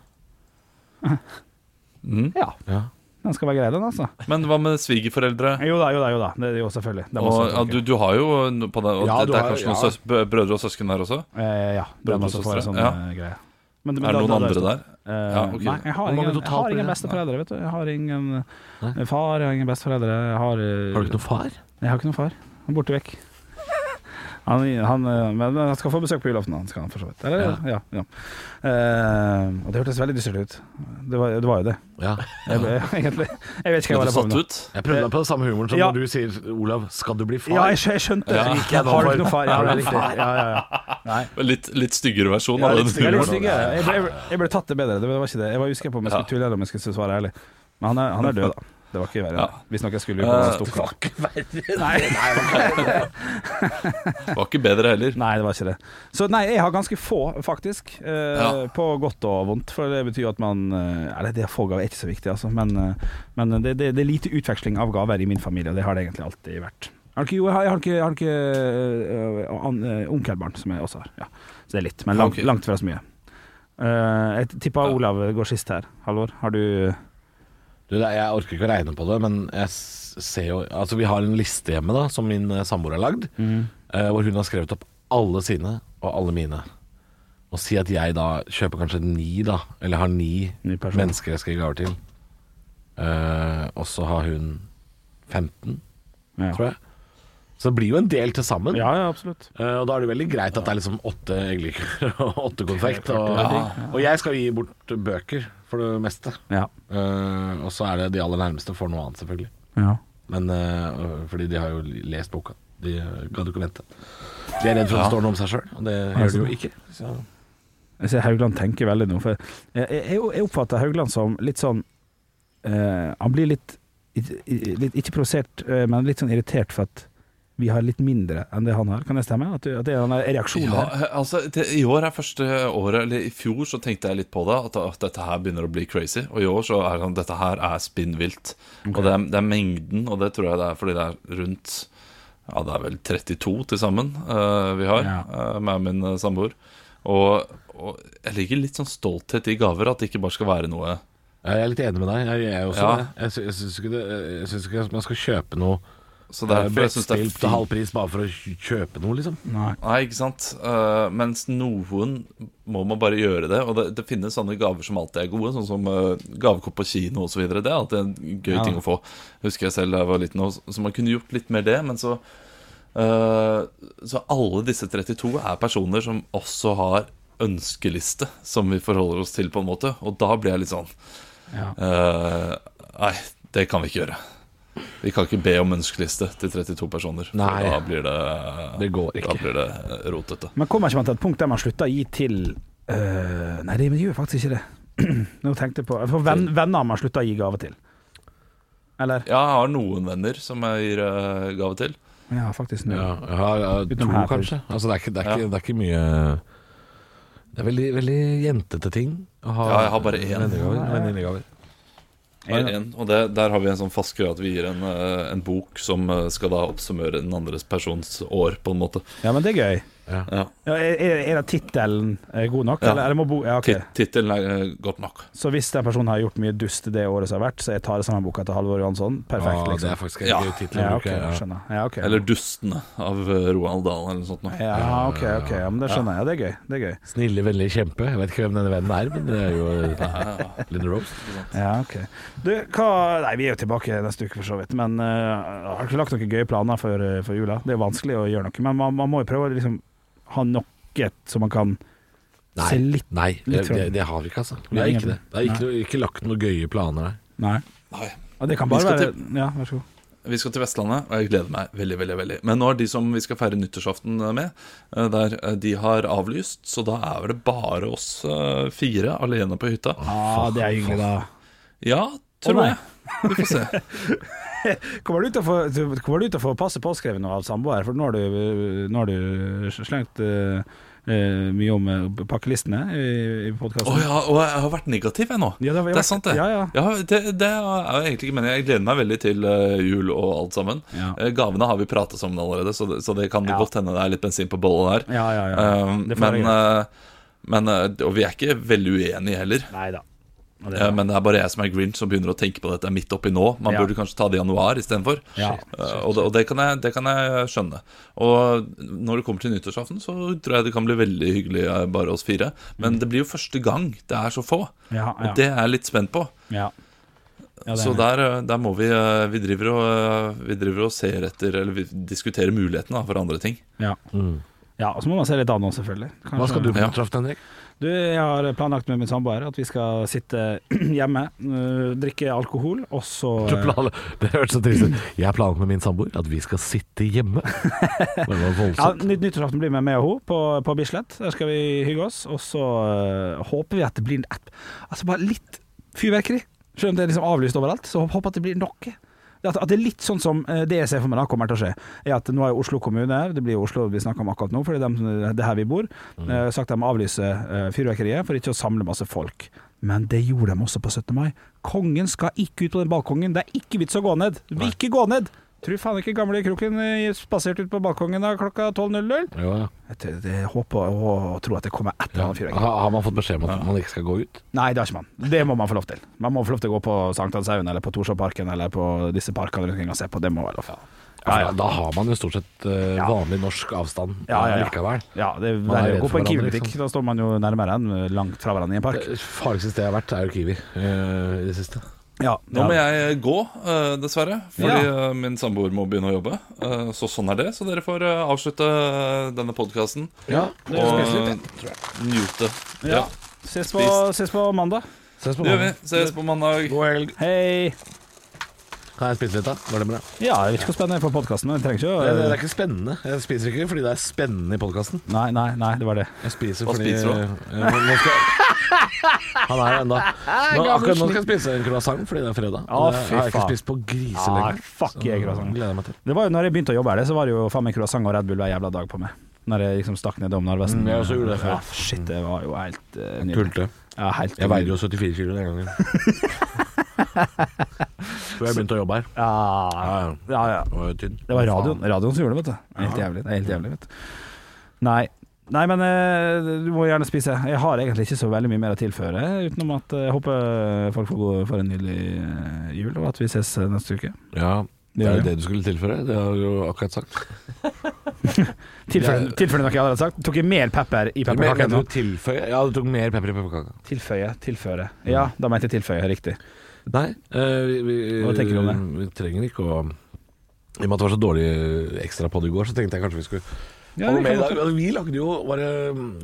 [SPEAKER 5] Mm.
[SPEAKER 3] Ja,
[SPEAKER 4] Ja.
[SPEAKER 3] den skal være grei, den, altså.
[SPEAKER 5] Men hva med svigerforeldre?
[SPEAKER 3] Jo da, jo da, jo da. Det, jo, selvfølgelig. Den
[SPEAKER 5] Og,
[SPEAKER 3] også
[SPEAKER 5] ja,
[SPEAKER 3] funker.
[SPEAKER 5] du, du har jo no- på deg, og
[SPEAKER 4] Ja,
[SPEAKER 5] det,
[SPEAKER 4] du
[SPEAKER 5] det er
[SPEAKER 4] har-
[SPEAKER 5] kanskje
[SPEAKER 4] ja.
[SPEAKER 5] noen søs, bø- brødre og søsken her også?
[SPEAKER 3] Eh, ja, den
[SPEAKER 5] Brødre og
[SPEAKER 3] også får en
[SPEAKER 5] søstre.
[SPEAKER 3] sånn
[SPEAKER 5] Ja.
[SPEAKER 3] eh, greie. Men- men
[SPEAKER 5] Er det
[SPEAKER 3] da-
[SPEAKER 5] noen
[SPEAKER 3] da-
[SPEAKER 5] andre
[SPEAKER 3] da-
[SPEAKER 5] der?
[SPEAKER 3] Eh,
[SPEAKER 5] Ja, ok.
[SPEAKER 3] Nei, jeg har
[SPEAKER 4] Hvor mange
[SPEAKER 3] ingen, jeg
[SPEAKER 4] totalt
[SPEAKER 3] har
[SPEAKER 4] blir
[SPEAKER 3] ingen
[SPEAKER 4] det?
[SPEAKER 3] besteforeldre, vet du. Jeg har ingen eh, far, jeg har ingen besteforeldre. Jeg har,
[SPEAKER 4] Har
[SPEAKER 3] eh,
[SPEAKER 4] du ikke noen far?
[SPEAKER 3] Jeg har ikke noen far. Han er borte vekk. Han, han, eh, men han skal få besøk på julaften, han skal han for så vidt. Eller? Ja. ja, Eh, og det hørtes veldig dystert ut. Det var, det var jo det,
[SPEAKER 4] Ja.
[SPEAKER 3] jeg, egentlig. Jeg vet ikke hva
[SPEAKER 5] Ble
[SPEAKER 3] jeg
[SPEAKER 5] du
[SPEAKER 3] var på
[SPEAKER 5] satt
[SPEAKER 3] med.
[SPEAKER 5] ut?
[SPEAKER 4] Jeg prøvde meg på den samme humoren som
[SPEAKER 3] Ja.
[SPEAKER 4] når du sier, Olav, skal du bli far?
[SPEAKER 3] Ja, jeg, skjø- jeg skjønte det.
[SPEAKER 5] Ja.
[SPEAKER 4] Jeg
[SPEAKER 3] Har du ikke noen
[SPEAKER 4] var-
[SPEAKER 3] far? Ja,
[SPEAKER 4] Har du
[SPEAKER 3] det er
[SPEAKER 4] ikke
[SPEAKER 3] riktig.
[SPEAKER 4] far?
[SPEAKER 3] Ja, ja, ja.
[SPEAKER 5] Litt, litt styggere versjon
[SPEAKER 3] Ja,
[SPEAKER 5] av
[SPEAKER 3] litt
[SPEAKER 5] den
[SPEAKER 3] styggere. Litt
[SPEAKER 5] humoren.
[SPEAKER 3] styggere. Jeg, ble, jeg, ble, jeg ble tatt det bedre. Det var ikke det. Jeg var usikker på om jeg skulle tulle eller om jeg skulle svare ærlig. Men han er, han er død, da. Det var ikke verre.
[SPEAKER 5] Ja.
[SPEAKER 3] Hvis noe jeg skulle gjort,
[SPEAKER 5] Eh,
[SPEAKER 3] så stukk han.
[SPEAKER 5] Var ikke bedre heller.
[SPEAKER 3] Nei, det var ikke det. Så nei, jeg har ganske få, faktisk. eh,
[SPEAKER 5] Ja.
[SPEAKER 3] På godt og vondt. For det betyr jo at man eh, Eller det å få gaver er ikke så viktig, altså. Men, eh, men det, det, det er lite utveksling av gaver i min familie, og det har det egentlig alltid vært. Har du ikke, jo, jeg har- jeg har ikke, jeg har ikke eh, an- eh, onkelbarn, som jeg også har. Ja. Så det er litt, men langt,
[SPEAKER 5] Ok.
[SPEAKER 3] langt fra så mye. Eh, jeg tipper Olav går sist her. Halvor, har du
[SPEAKER 4] Du, det er- jeg orker ikke å regne på det, men jeg s- ser jo Altså, vi har en liste hjemme da, som min eh, samboer har lagd,
[SPEAKER 3] Mhm.
[SPEAKER 4] eh, hvor hun har skrevet opp alle sine og alle mine. Og si at jeg da kjøper kanskje ni, da, eller har ni
[SPEAKER 3] Ni personer.
[SPEAKER 4] mennesker jeg skal gi gaver til. Eh, og så har hun 15,
[SPEAKER 3] Ja.
[SPEAKER 4] tror jeg. Så det blir jo en del til sammen.
[SPEAKER 3] Ja, ja, absolutt.
[SPEAKER 4] Eh, og da er det veldig greit at det er liksom åtte eggeliker og åtte konfekt. Og, og jeg skal gi bort bøker, for det meste.
[SPEAKER 3] Ja.
[SPEAKER 4] Eh, og så er det de aller nærmeste får noe annet, selvfølgelig.
[SPEAKER 3] ja.
[SPEAKER 4] Men eh, Fordi de har jo lest boka. De eh, gadd jo ikke vente. De er redd for at det står noe om seg sjøl, og det gjør de jo ikke. Så.
[SPEAKER 3] Jeg ser Haugland tenker veldig nå. For jeg, jeg, jeg oppfatter Haugland som litt sånn eh, Han blir litt, i- i- litt Ikke provosert, eh, men litt sånn irritert for at vi har litt mindre enn det han har. Kan det stemme? At, du, at det er en reaksjon
[SPEAKER 5] Ja,
[SPEAKER 3] der?
[SPEAKER 5] altså, det, I år er første året Eller i fjor så tenkte jeg litt på det, at, at dette her begynner å bli crazy. Og i år så er det sånn dette her er spinnvilt. Og det er, det er mengden, og det tror jeg det er fordi det er rundt Ja, det er vel 32 til sammen eh, vi har,
[SPEAKER 3] Ja.
[SPEAKER 5] eh, meg og min eh, samboer. Og, og jeg ligger litt sånn stolthet i gaver, at det ikke bare skal være noe
[SPEAKER 4] Jeg er litt enig med deg. Jeg, jeg er også
[SPEAKER 5] Ja.
[SPEAKER 4] det. Jeg, sy- jeg syns ikke, det, jeg syns ikke man skal kjøpe noe
[SPEAKER 5] Så
[SPEAKER 4] eh,
[SPEAKER 5] derfor jeg synes
[SPEAKER 4] brettspill
[SPEAKER 5] det er
[SPEAKER 4] til
[SPEAKER 5] fint Mm.
[SPEAKER 4] halv pris bare for å kj- kjøpe noe, liksom.
[SPEAKER 3] Nei.
[SPEAKER 5] Nei, ikke sant? Eh, mens noen må man bare gjøre det. Og det, det finnes sånne gaver som alltid er gode, sånn som eh, gavekopp på kino osv. Det er alltid en gøy
[SPEAKER 3] Ja.
[SPEAKER 5] ting å få. Husker jeg selv da jeg var liten, og- så man kunne gjort litt mer det. Men så eh, Så alle disse 32 er personer som også har ønskeliste som vi forholder oss til, på en måte. Og da blir jeg litt sånn
[SPEAKER 3] Ja.
[SPEAKER 5] eh, Nei, det kan vi ikke gjøre. Vi kan ikke be om ønskeliste til 32 personer. for
[SPEAKER 4] Nei.
[SPEAKER 5] Da blir det
[SPEAKER 4] Det går ikke.
[SPEAKER 5] Da blir det eh, rotete.
[SPEAKER 3] Men kommer ikke man til et punkt der man slutter å gi til eh, Nei, det gjør faktisk ikke det. nå tenkte jeg på For venn, venner man slutter å gi gave til. Eller?
[SPEAKER 5] Ja, jeg har noen venner som jeg gir eh, gave til.
[SPEAKER 3] Ja, faktisk nå.
[SPEAKER 4] Ja, jeg har, jeg har
[SPEAKER 3] Utenom
[SPEAKER 4] to,
[SPEAKER 3] her,
[SPEAKER 4] kanskje. Altså, det, er ikke, det, er ikke, det er ikke mye Det er veldig, veldig jentete ting å ha
[SPEAKER 5] Ja, jeg har bare én.
[SPEAKER 4] vennegaver. venninnegaver.
[SPEAKER 5] Jeg har en, og det, Der har vi en sånn fast greie at vi gir en, eh, en bok som eh, skal da oppsummere den andres persons år, på en måte.
[SPEAKER 3] Ja, men det er gøy.
[SPEAKER 5] Ja.
[SPEAKER 3] Ja, er, er er da tittelen eh, god nok?
[SPEAKER 5] Ja.
[SPEAKER 3] Eller, eller må bo ja, ok.
[SPEAKER 5] Ti- Tittelen er eh, godt nok.
[SPEAKER 3] Så hvis den personen har gjort mye dust det året som har vært, så jeg tar samme boka til Halvor Johansson? Perfekt,
[SPEAKER 4] Å, Ah, Det
[SPEAKER 3] liksom.
[SPEAKER 4] er faktisk en
[SPEAKER 5] Ja.
[SPEAKER 4] gøy tittel å
[SPEAKER 3] Ja, ok,
[SPEAKER 4] bruke. ja.
[SPEAKER 3] skjønner. Ja, ok.
[SPEAKER 5] Eller 'Dustene' av eh, Roald Dahl eller noe sånt. Nå.
[SPEAKER 3] ja, ok, ok. Ja, men det skjønner jeg. Ja, det er gøy. Det er gøy.
[SPEAKER 4] Snille, vennlige kjempe. Jeg vet ikke hvem denne vennen er, men det er eh, jo Linn Rose.
[SPEAKER 3] Ja, ok. Du, hva Nei, vi er jo tilbake neste uke, for så vidt. Men eh, har dere lagt noen gøye planer for, eh, for jula? Det er jo vanskelig å gjøre noe, men man, man må jo prøve å liksom ha noe som man kan
[SPEAKER 4] Nei,
[SPEAKER 3] se litt
[SPEAKER 4] nei det,
[SPEAKER 3] litt fra-
[SPEAKER 4] det, det har vi ikke, altså. Vi
[SPEAKER 3] Nei,
[SPEAKER 4] har
[SPEAKER 3] ingen-
[SPEAKER 4] ikke det. Det er ikke, noe- ikke lagt noen gøye planer her.
[SPEAKER 3] Nei.
[SPEAKER 5] Nei.
[SPEAKER 3] Og det kan
[SPEAKER 5] Vi
[SPEAKER 3] bare
[SPEAKER 5] skal
[SPEAKER 3] være Ja, vær så god.
[SPEAKER 5] Vi skal til Vestlandet, og jeg gleder meg veldig. veldig, veldig Men nå er de som vi skal feire nyttårsaften med, eh, der eh, de har avlyst, så da er vel det bare oss eh, fire alene på hytta.
[SPEAKER 3] Ja, Ah, det er hyggelig, da.
[SPEAKER 5] Ja, tror
[SPEAKER 3] nei.
[SPEAKER 5] jeg. Vi får se.
[SPEAKER 3] Kommer du til å få, kommer du til å få passet påskrevet noe av samboer? For nå har du, nå har du slengt eh, eh, mye om eh, pakkelistene i, i podkasten.
[SPEAKER 5] Å ja, og jeg har vært negativ jeg nå.
[SPEAKER 3] Ja, det har vi
[SPEAKER 5] er
[SPEAKER 3] vært.
[SPEAKER 5] sant, det.
[SPEAKER 3] Ja, ja.
[SPEAKER 5] det, det er jo egentlig ikke meningen. Jeg gleder meg veldig til eh, jul og alt sammen.
[SPEAKER 3] Ja.
[SPEAKER 5] Eh, gavene har vi pratet sammen allerede, så det, så det kan
[SPEAKER 3] Ja.
[SPEAKER 5] godt hende det er litt bensin på bollet der.
[SPEAKER 3] Ja, ja, ja.
[SPEAKER 5] Eh,
[SPEAKER 3] Det får være
[SPEAKER 5] men,
[SPEAKER 3] greit.
[SPEAKER 5] eh, men eh, Og vi er ikke veldig uenige heller.
[SPEAKER 3] Nei da. Og det-
[SPEAKER 5] Eh, Men det er bare jeg som er grinch som begynner å tenke på dette midt oppi nå. Man
[SPEAKER 3] Ja.
[SPEAKER 5] burde kanskje ta det i januar istedenfor.
[SPEAKER 3] Ja.
[SPEAKER 5] Eh, Og, det, og det, kan jeg, det kan jeg skjønne. Og når det kommer til nyttårsaften, så tror jeg det kan bli veldig hyggelig eh, bare oss fire. Men det blir jo første gang det er så få.
[SPEAKER 3] Ja, Mm. ja.
[SPEAKER 5] Og det er jeg litt spent på.
[SPEAKER 3] ja. Ja, det er
[SPEAKER 5] Så
[SPEAKER 3] det.
[SPEAKER 5] der, eh, der må vi eh, Vi driver og, eh, vi driver og ser etter Eller vi diskuterer mulighetene da, for andre ting.
[SPEAKER 3] Ja. ja, og så må man se litt an nå, selvfølgelig. Kanskje-
[SPEAKER 4] Hva skal du på
[SPEAKER 5] Ja.
[SPEAKER 4] nyttårsaften, Henrik?
[SPEAKER 3] Du, jeg har planlagt med min samboer at vi skal sitte hjemme, øh, drikke alkohol, og så
[SPEAKER 4] Du planla- Det hørtes så trist ut. Jeg har planlagt med min samboer at vi skal sitte hjemme. Det var
[SPEAKER 3] ja,
[SPEAKER 4] voldsomt.
[SPEAKER 3] nytt, Nyttårsaften blir med meg og hun på, på Bislett. Der skal vi hygge oss. Og så øh, håper vi at det blir et, altså bare litt fyrverkeri. Selv om det er liksom avlyst overalt, så håper jeg at det blir noe. At, at det er litt sånn som øh, det jeg ser for meg da kommer til å skje, er at nå har jo Oslo kommune, det blir jo Oslo vi snakker om akkurat nå, fordi de, det er her vi bor, øh, sagt at de avlyser øh, fyrverkeriet for ikke å samle masse folk. Men det gjorde de også på 17. mai. Kongen skal ikke ut på den balkongen. Det er ikke vits å gå ned. Du vil ikke gå ned! Tror faen ikke gamle kroken eh, spaserte ut på balkongen da klokka 12.00.
[SPEAKER 4] Jo, ja.
[SPEAKER 3] Jeg t- det håper og tror at det kommer etter han
[SPEAKER 4] Ha-
[SPEAKER 3] fyrverkeriet.
[SPEAKER 4] Har man fått beskjed om at man ikke skal gå ut?
[SPEAKER 3] Nei, det har ikke man. Det må man få lov til. Man må få lov til å gå på Sankthanshaugen eller på Torshovparken eller på disse parkene rundt omkring og se på. Det må være lov.
[SPEAKER 4] Ja,
[SPEAKER 3] Ja, ja.
[SPEAKER 4] Altså, Da har man jo stort sett eh,
[SPEAKER 3] Ja.
[SPEAKER 4] vanlig norsk avstand
[SPEAKER 3] Ja, ja, ja.
[SPEAKER 4] likevel.
[SPEAKER 3] Ja, det er
[SPEAKER 4] Man er
[SPEAKER 3] verre
[SPEAKER 4] redd
[SPEAKER 3] å gå
[SPEAKER 4] for
[SPEAKER 3] på en
[SPEAKER 4] hverandre,
[SPEAKER 3] Kiwi-butikk.
[SPEAKER 4] liksom.
[SPEAKER 3] Da står man jo nærmere enn eh, langt fra hverandre i en park.
[SPEAKER 4] Det farligste stedet jeg har vært, er jo Kiwi eh, i det siste.
[SPEAKER 3] Ja,
[SPEAKER 5] Nå må
[SPEAKER 3] ja.
[SPEAKER 5] jeg gå, eh, dessverre, fordi eh, min samboer må begynne å jobbe. Eh, Så sånn er det. Så dere får eh, avslutte eh, denne podkasten
[SPEAKER 4] Ja,
[SPEAKER 5] og njute. Ja.
[SPEAKER 3] Ses, på,
[SPEAKER 5] Spist.
[SPEAKER 3] ses på mandag.
[SPEAKER 4] Ses på
[SPEAKER 5] Det gjør vi.
[SPEAKER 4] morgenen.
[SPEAKER 5] Ses på mandag.
[SPEAKER 4] God helg.
[SPEAKER 3] Hei.
[SPEAKER 4] Kan jeg spise litt, da? Var det bra?
[SPEAKER 3] Ja, jeg vet ikke hvor spennende det er for podkasten. Det trenger
[SPEAKER 4] Det, det
[SPEAKER 3] ikke å
[SPEAKER 4] er ikke spennende. Jeg spiser ikke fordi det er spennende i podkasten.
[SPEAKER 3] Nei, nei, nei, det var det.
[SPEAKER 4] Jeg spiser
[SPEAKER 5] Hva
[SPEAKER 4] fordi
[SPEAKER 5] spiser du?
[SPEAKER 4] Eh, nå- nå skal Han er her ennå. Nå, akkurat nå skal jeg spise en croissant fordi det er fredag.
[SPEAKER 3] Å,
[SPEAKER 4] Og det
[SPEAKER 3] fy
[SPEAKER 4] har jeg ikke
[SPEAKER 3] faen.
[SPEAKER 4] spist på
[SPEAKER 3] Ah,
[SPEAKER 4] griselenge.
[SPEAKER 3] fuck jeg, croissant.
[SPEAKER 4] gleder jeg meg til.
[SPEAKER 3] Det var jo når jeg begynte å jobbe her, det, så var det jo faen meg croissant og Red Bull hver jævla dag på meg. Når jeg liksom stakk ned om Narvesen.
[SPEAKER 4] Mm, jeg også gjorde det før.
[SPEAKER 3] Ja, shit, det var jo helt uh, nydelig.
[SPEAKER 4] Pulte.
[SPEAKER 3] Ja, helt
[SPEAKER 4] Jeg veide jo 74 kilo den gangen. Før jeg begynte å jobbe her.
[SPEAKER 3] Ja,
[SPEAKER 4] Ja, ja.
[SPEAKER 3] ja, ja.
[SPEAKER 4] Jeg var jo tynn.
[SPEAKER 3] Det var radioen, radioen som gjorde det, vet du. Det er Helt jævlig. Det er helt jævlig, vet du. Nei. Nei, men eh, du må gjerne spise. Jeg har egentlig ikke så veldig mye mer å tilføre, utenom at eh, jeg håper folk får, gå, får en nydelig eh, jul, og at vi ses eh, neste uke.
[SPEAKER 4] Ja, det
[SPEAKER 3] Ja,
[SPEAKER 4] er
[SPEAKER 3] ja.
[SPEAKER 4] jo det du skulle tilføre. Det har du jo akkurat sagt.
[SPEAKER 3] Tilføye
[SPEAKER 4] Jeg-
[SPEAKER 3] tilføye noe jeg allerede har sagt. Tok jeg mer pepper i
[SPEAKER 4] Men
[SPEAKER 3] pepperkaka
[SPEAKER 4] kan
[SPEAKER 3] nå?
[SPEAKER 4] du tilføye? Ja, du tok mer pepper i pepperkaka.
[SPEAKER 3] Tilføye, tilføre. Ja, da mente jeg tilføye, riktig.
[SPEAKER 4] Nei, eh, vi, vi,
[SPEAKER 3] Hva tenker du om det?
[SPEAKER 4] vi trenger ikke å I og med at det var så dårlig ekstra på det i går, så tenkte jeg kanskje vi skulle
[SPEAKER 3] Ja,
[SPEAKER 4] ha
[SPEAKER 3] vi
[SPEAKER 4] noe mer i
[SPEAKER 3] kan
[SPEAKER 4] dag. Ja, Vi lagde jo var det,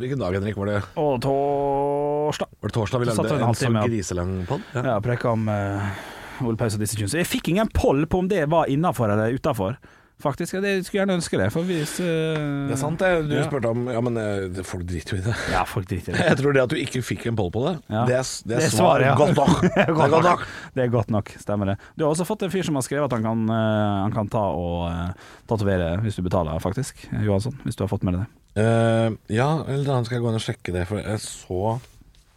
[SPEAKER 4] Hvilken dag, Henrik? Var det,
[SPEAKER 3] Og torsdag.
[SPEAKER 4] var det torsdag vi
[SPEAKER 3] Så satt
[SPEAKER 4] lagde
[SPEAKER 3] vi en
[SPEAKER 4] en, så
[SPEAKER 3] halvtime, ja.
[SPEAKER 4] griselang pod? Ja.
[SPEAKER 3] Ja, preka om uh, Ole Paus og disse tunes. Jeg fikk ingen poll på om det var innafor eller utafor, faktisk. Jeg skulle gjerne ønske det. For hvis, eh,
[SPEAKER 4] Det er sant, det. Du
[SPEAKER 3] Ja.
[SPEAKER 4] spurte om Ja, men eh, det- folk driter jo i det.
[SPEAKER 3] Ja, folk driter i det.
[SPEAKER 4] Jeg tror det at du ikke fikk en poll på det,
[SPEAKER 3] Ja.
[SPEAKER 4] det er, s- det er
[SPEAKER 3] Det er
[SPEAKER 4] svaret.
[SPEAKER 3] svaret, ja.
[SPEAKER 4] Godt nok. Det er godt nok.
[SPEAKER 3] Det er godt nok, stemmer det. Du har også fått en fyr som har skrevet at han kan, eh, han kan ta og uh, tatovere hvis du betaler, faktisk. Johansson, hvis du har fått med deg det.
[SPEAKER 4] Eh, ja, eller da skal jeg gå inn og sjekke det, for jeg så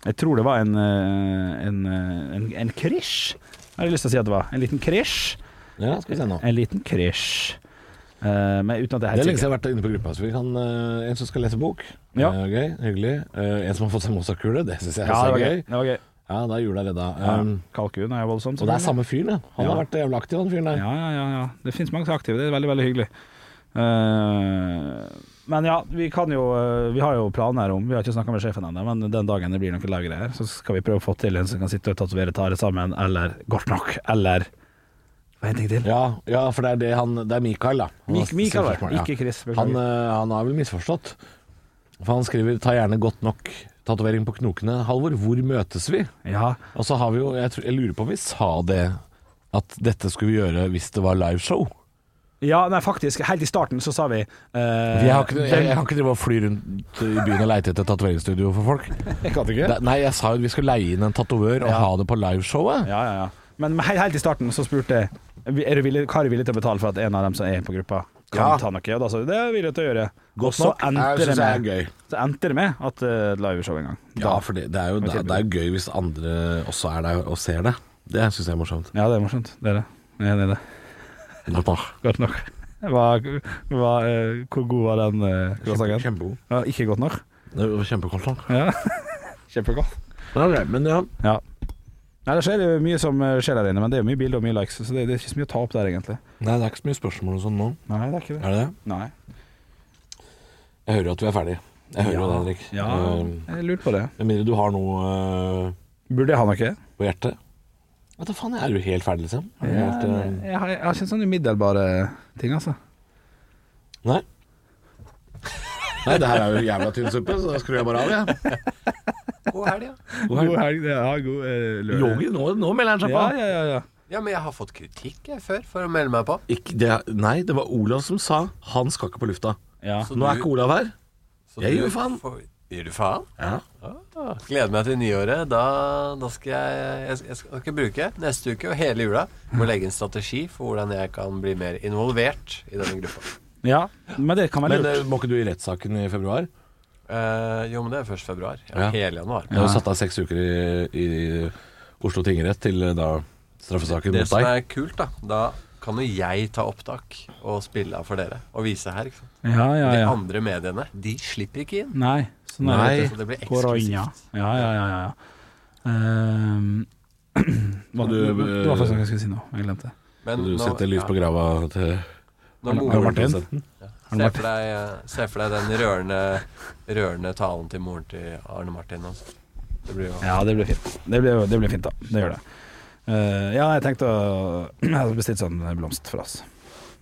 [SPEAKER 3] Jeg tror det var en eh, en, eh, en, en krisj, har jeg lyst til å si at det var. En liten krisj.
[SPEAKER 4] Ja, skal vi se nå.
[SPEAKER 3] En liten krisj. Eh, men uten at det
[SPEAKER 4] Det
[SPEAKER 3] er helt
[SPEAKER 4] er lenge siden
[SPEAKER 3] sikkert.
[SPEAKER 4] jeg har vært inne på gruppa. Så vi kan, eh, en som skal lese bok.
[SPEAKER 3] Ja.
[SPEAKER 4] Eh, gøy, hyggelig. Eh, en som har fått seg Mozart-kule. Det syns jeg
[SPEAKER 3] Ja,
[SPEAKER 4] også er
[SPEAKER 3] det var gøy.
[SPEAKER 4] gøy.
[SPEAKER 3] Det var gøy.
[SPEAKER 4] Ja, da er jula redda. Um,
[SPEAKER 3] Kalkun er jo voldsomt.
[SPEAKER 4] og det er samme fyren, ja. Han har
[SPEAKER 3] Ja.
[SPEAKER 4] vært jævla aktiv, han fyren der.
[SPEAKER 3] Ja, ja, ja, ja. Det finnes mange som er aktive. Det er veldig, veldig hyggelig. Eh, men ja, vi kan jo eh, Vi har jo planer om Vi har ikke snakka med sjefen ennå, men den dagen det blir noe laggreier, så skal vi prøve å få til en som kan sitte og tatovere tare sammen, eller godt nok, eller Hva er en ting til?
[SPEAKER 4] Ja, ja, for det er det han Det er Mikael, da. Han
[SPEAKER 3] Mik-
[SPEAKER 4] har
[SPEAKER 3] Mikael,
[SPEAKER 4] stilt spørsmål,
[SPEAKER 3] ikke Chris, beklager.
[SPEAKER 4] Han, eh, han har vel misforstått. For han skriver 'ta gjerne godt nok tatovering på knokene'. Halvor, hvor møtes vi?
[SPEAKER 3] Ja.
[SPEAKER 4] Og så har vi jo jeg, tror, jeg lurer på om vi sa det, at dette skulle vi gjøre hvis det var liveshow.
[SPEAKER 3] ja, nei, faktisk. Helt i starten så sa vi uh,
[SPEAKER 4] Jeg, har ikke, jeg, jeg kan ikke drive og fly rundt i byen og leite etter tatoveringsstudio for folk. Jeg kan ikke Nei, jeg sa jo at vi skulle leie inn en tatovør og ha det på liveshowet.
[SPEAKER 3] Ja, ja, ja. Men helt, helt i starten så spurte jeg er du villig, hva er du villig til å betale for at en av dem som er på gruppa, kan
[SPEAKER 4] Ja.
[SPEAKER 3] ta noe? Og da sa du det er jeg villig til å gjøre.
[SPEAKER 4] Godt
[SPEAKER 3] og så
[SPEAKER 4] nok.
[SPEAKER 3] endte
[SPEAKER 4] Jeg
[SPEAKER 3] det
[SPEAKER 4] synes
[SPEAKER 3] med,
[SPEAKER 4] det er gøy.
[SPEAKER 3] Så endte det med at uh, liveshow en gang.
[SPEAKER 4] Ja, for det, det, er jo, det, det er jo gøy hvis andre også er der og ser det. Det syns jeg er morsomt.
[SPEAKER 3] Ja, det er morsomt. Det er det. Jeg er enig i det. Godt nok. Hva, hva, eh, hvor god var den eh, croissanten?
[SPEAKER 4] Kjempegod.
[SPEAKER 3] Ja, ikke godt nok?
[SPEAKER 4] Det var Kjempegodt. da.
[SPEAKER 3] Ja. Kjempegodt.
[SPEAKER 4] Men, ok, men ja,
[SPEAKER 3] Ja. Nei, det skjer jo mye som eh, skjer der inne, men det er jo mye bilder og mye likes, så det, det er ikke så mye å ta opp der, egentlig.
[SPEAKER 4] Nei, det er ikke så mye spørsmål og sånn nå.
[SPEAKER 3] Nei, det er ikke det.
[SPEAKER 4] Er det det?
[SPEAKER 3] Nei.
[SPEAKER 4] Jeg hører jo at vi er ferdig. Jeg hører jo det, Henrik.
[SPEAKER 3] Ja,
[SPEAKER 4] Ehm,
[SPEAKER 3] jeg lurte på det.
[SPEAKER 4] Med mindre du har noe eh,
[SPEAKER 3] Burde jeg ha noe?
[SPEAKER 4] på hjertet. Vet du faen, jeg er jo helt ferdig, liksom. Er du
[SPEAKER 3] Ja,
[SPEAKER 4] helt,
[SPEAKER 3] nei,
[SPEAKER 4] eh,
[SPEAKER 3] jeg, har, jeg har ikke sånne umiddelbare ting, altså.
[SPEAKER 4] Nei. Nei, det her er jo jævla tynn suppe, så da skrur jeg bare av, jeg.
[SPEAKER 6] God helg, ja.
[SPEAKER 4] God helg.
[SPEAKER 3] helg. Ja, god eh, lørdag.
[SPEAKER 4] Yogi, nå, nå melder han seg på.
[SPEAKER 3] Ja, ja, ja, ja.
[SPEAKER 6] Ja, men jeg har fått kritikk jeg før for å melde meg på.
[SPEAKER 4] Ikke, det, nei, det var Olav som sa han skal ikke på lufta.
[SPEAKER 3] ja.
[SPEAKER 6] Så
[SPEAKER 4] Nå er
[SPEAKER 6] du-
[SPEAKER 4] ikke Olav her.
[SPEAKER 6] så
[SPEAKER 4] jeg
[SPEAKER 6] du
[SPEAKER 4] gir faen.
[SPEAKER 6] får- Gir du faen?
[SPEAKER 4] Ja.
[SPEAKER 6] Ah, Gleder meg til nyåret. Da, da skal jeg, jeg, jeg skal ikke bruke neste uke og hele jula på å legge en strategi for hvordan jeg kan bli mer involvert i denne gruppa.
[SPEAKER 3] ja. Men det kan være
[SPEAKER 4] Men
[SPEAKER 3] lurt.
[SPEAKER 4] eh, må ikke du i rettssaken i februar?
[SPEAKER 6] Eh, jo, men det er først februar. Ja,
[SPEAKER 4] Ja.
[SPEAKER 6] Hele januar.
[SPEAKER 4] Jeg har satt av seks uker i, i Oslo tingrett til eh, da straffesaken
[SPEAKER 6] Det
[SPEAKER 4] mot
[SPEAKER 6] som
[SPEAKER 4] deg.
[SPEAKER 6] er kult, da Da kan jo jeg ta opptak og spille av for dere og vise her. Ikke sant?
[SPEAKER 3] Ja, ja,
[SPEAKER 6] De
[SPEAKER 3] ja.
[SPEAKER 6] andre mediene, de slipper ikke inn.
[SPEAKER 3] Nei. Sånn er
[SPEAKER 4] Nei.
[SPEAKER 3] det.
[SPEAKER 6] Så det blir eksklusivt.
[SPEAKER 3] Korona. Ja, ja, ja. ja, ja. Ehm, hva,
[SPEAKER 4] du,
[SPEAKER 3] det
[SPEAKER 4] eh,
[SPEAKER 3] var faktisk noe jeg skulle si nå. Jeg glemte det.
[SPEAKER 6] Men
[SPEAKER 4] Skal du
[SPEAKER 6] nå-
[SPEAKER 4] sette lys på
[SPEAKER 6] ja,
[SPEAKER 4] grava til
[SPEAKER 6] når moren-
[SPEAKER 4] Karl
[SPEAKER 3] Martin?
[SPEAKER 4] Martin?
[SPEAKER 6] Se for deg, eh, se for deg den rørende, rørende talen til moren til Arne Martin. Altså. Det blir jo
[SPEAKER 3] Ja, det blir fint. Det blir, det blir fint, da. Det gjør det. Eh, ja, jeg tenkte å Jeg hadde bestilt sånn blomst for oss.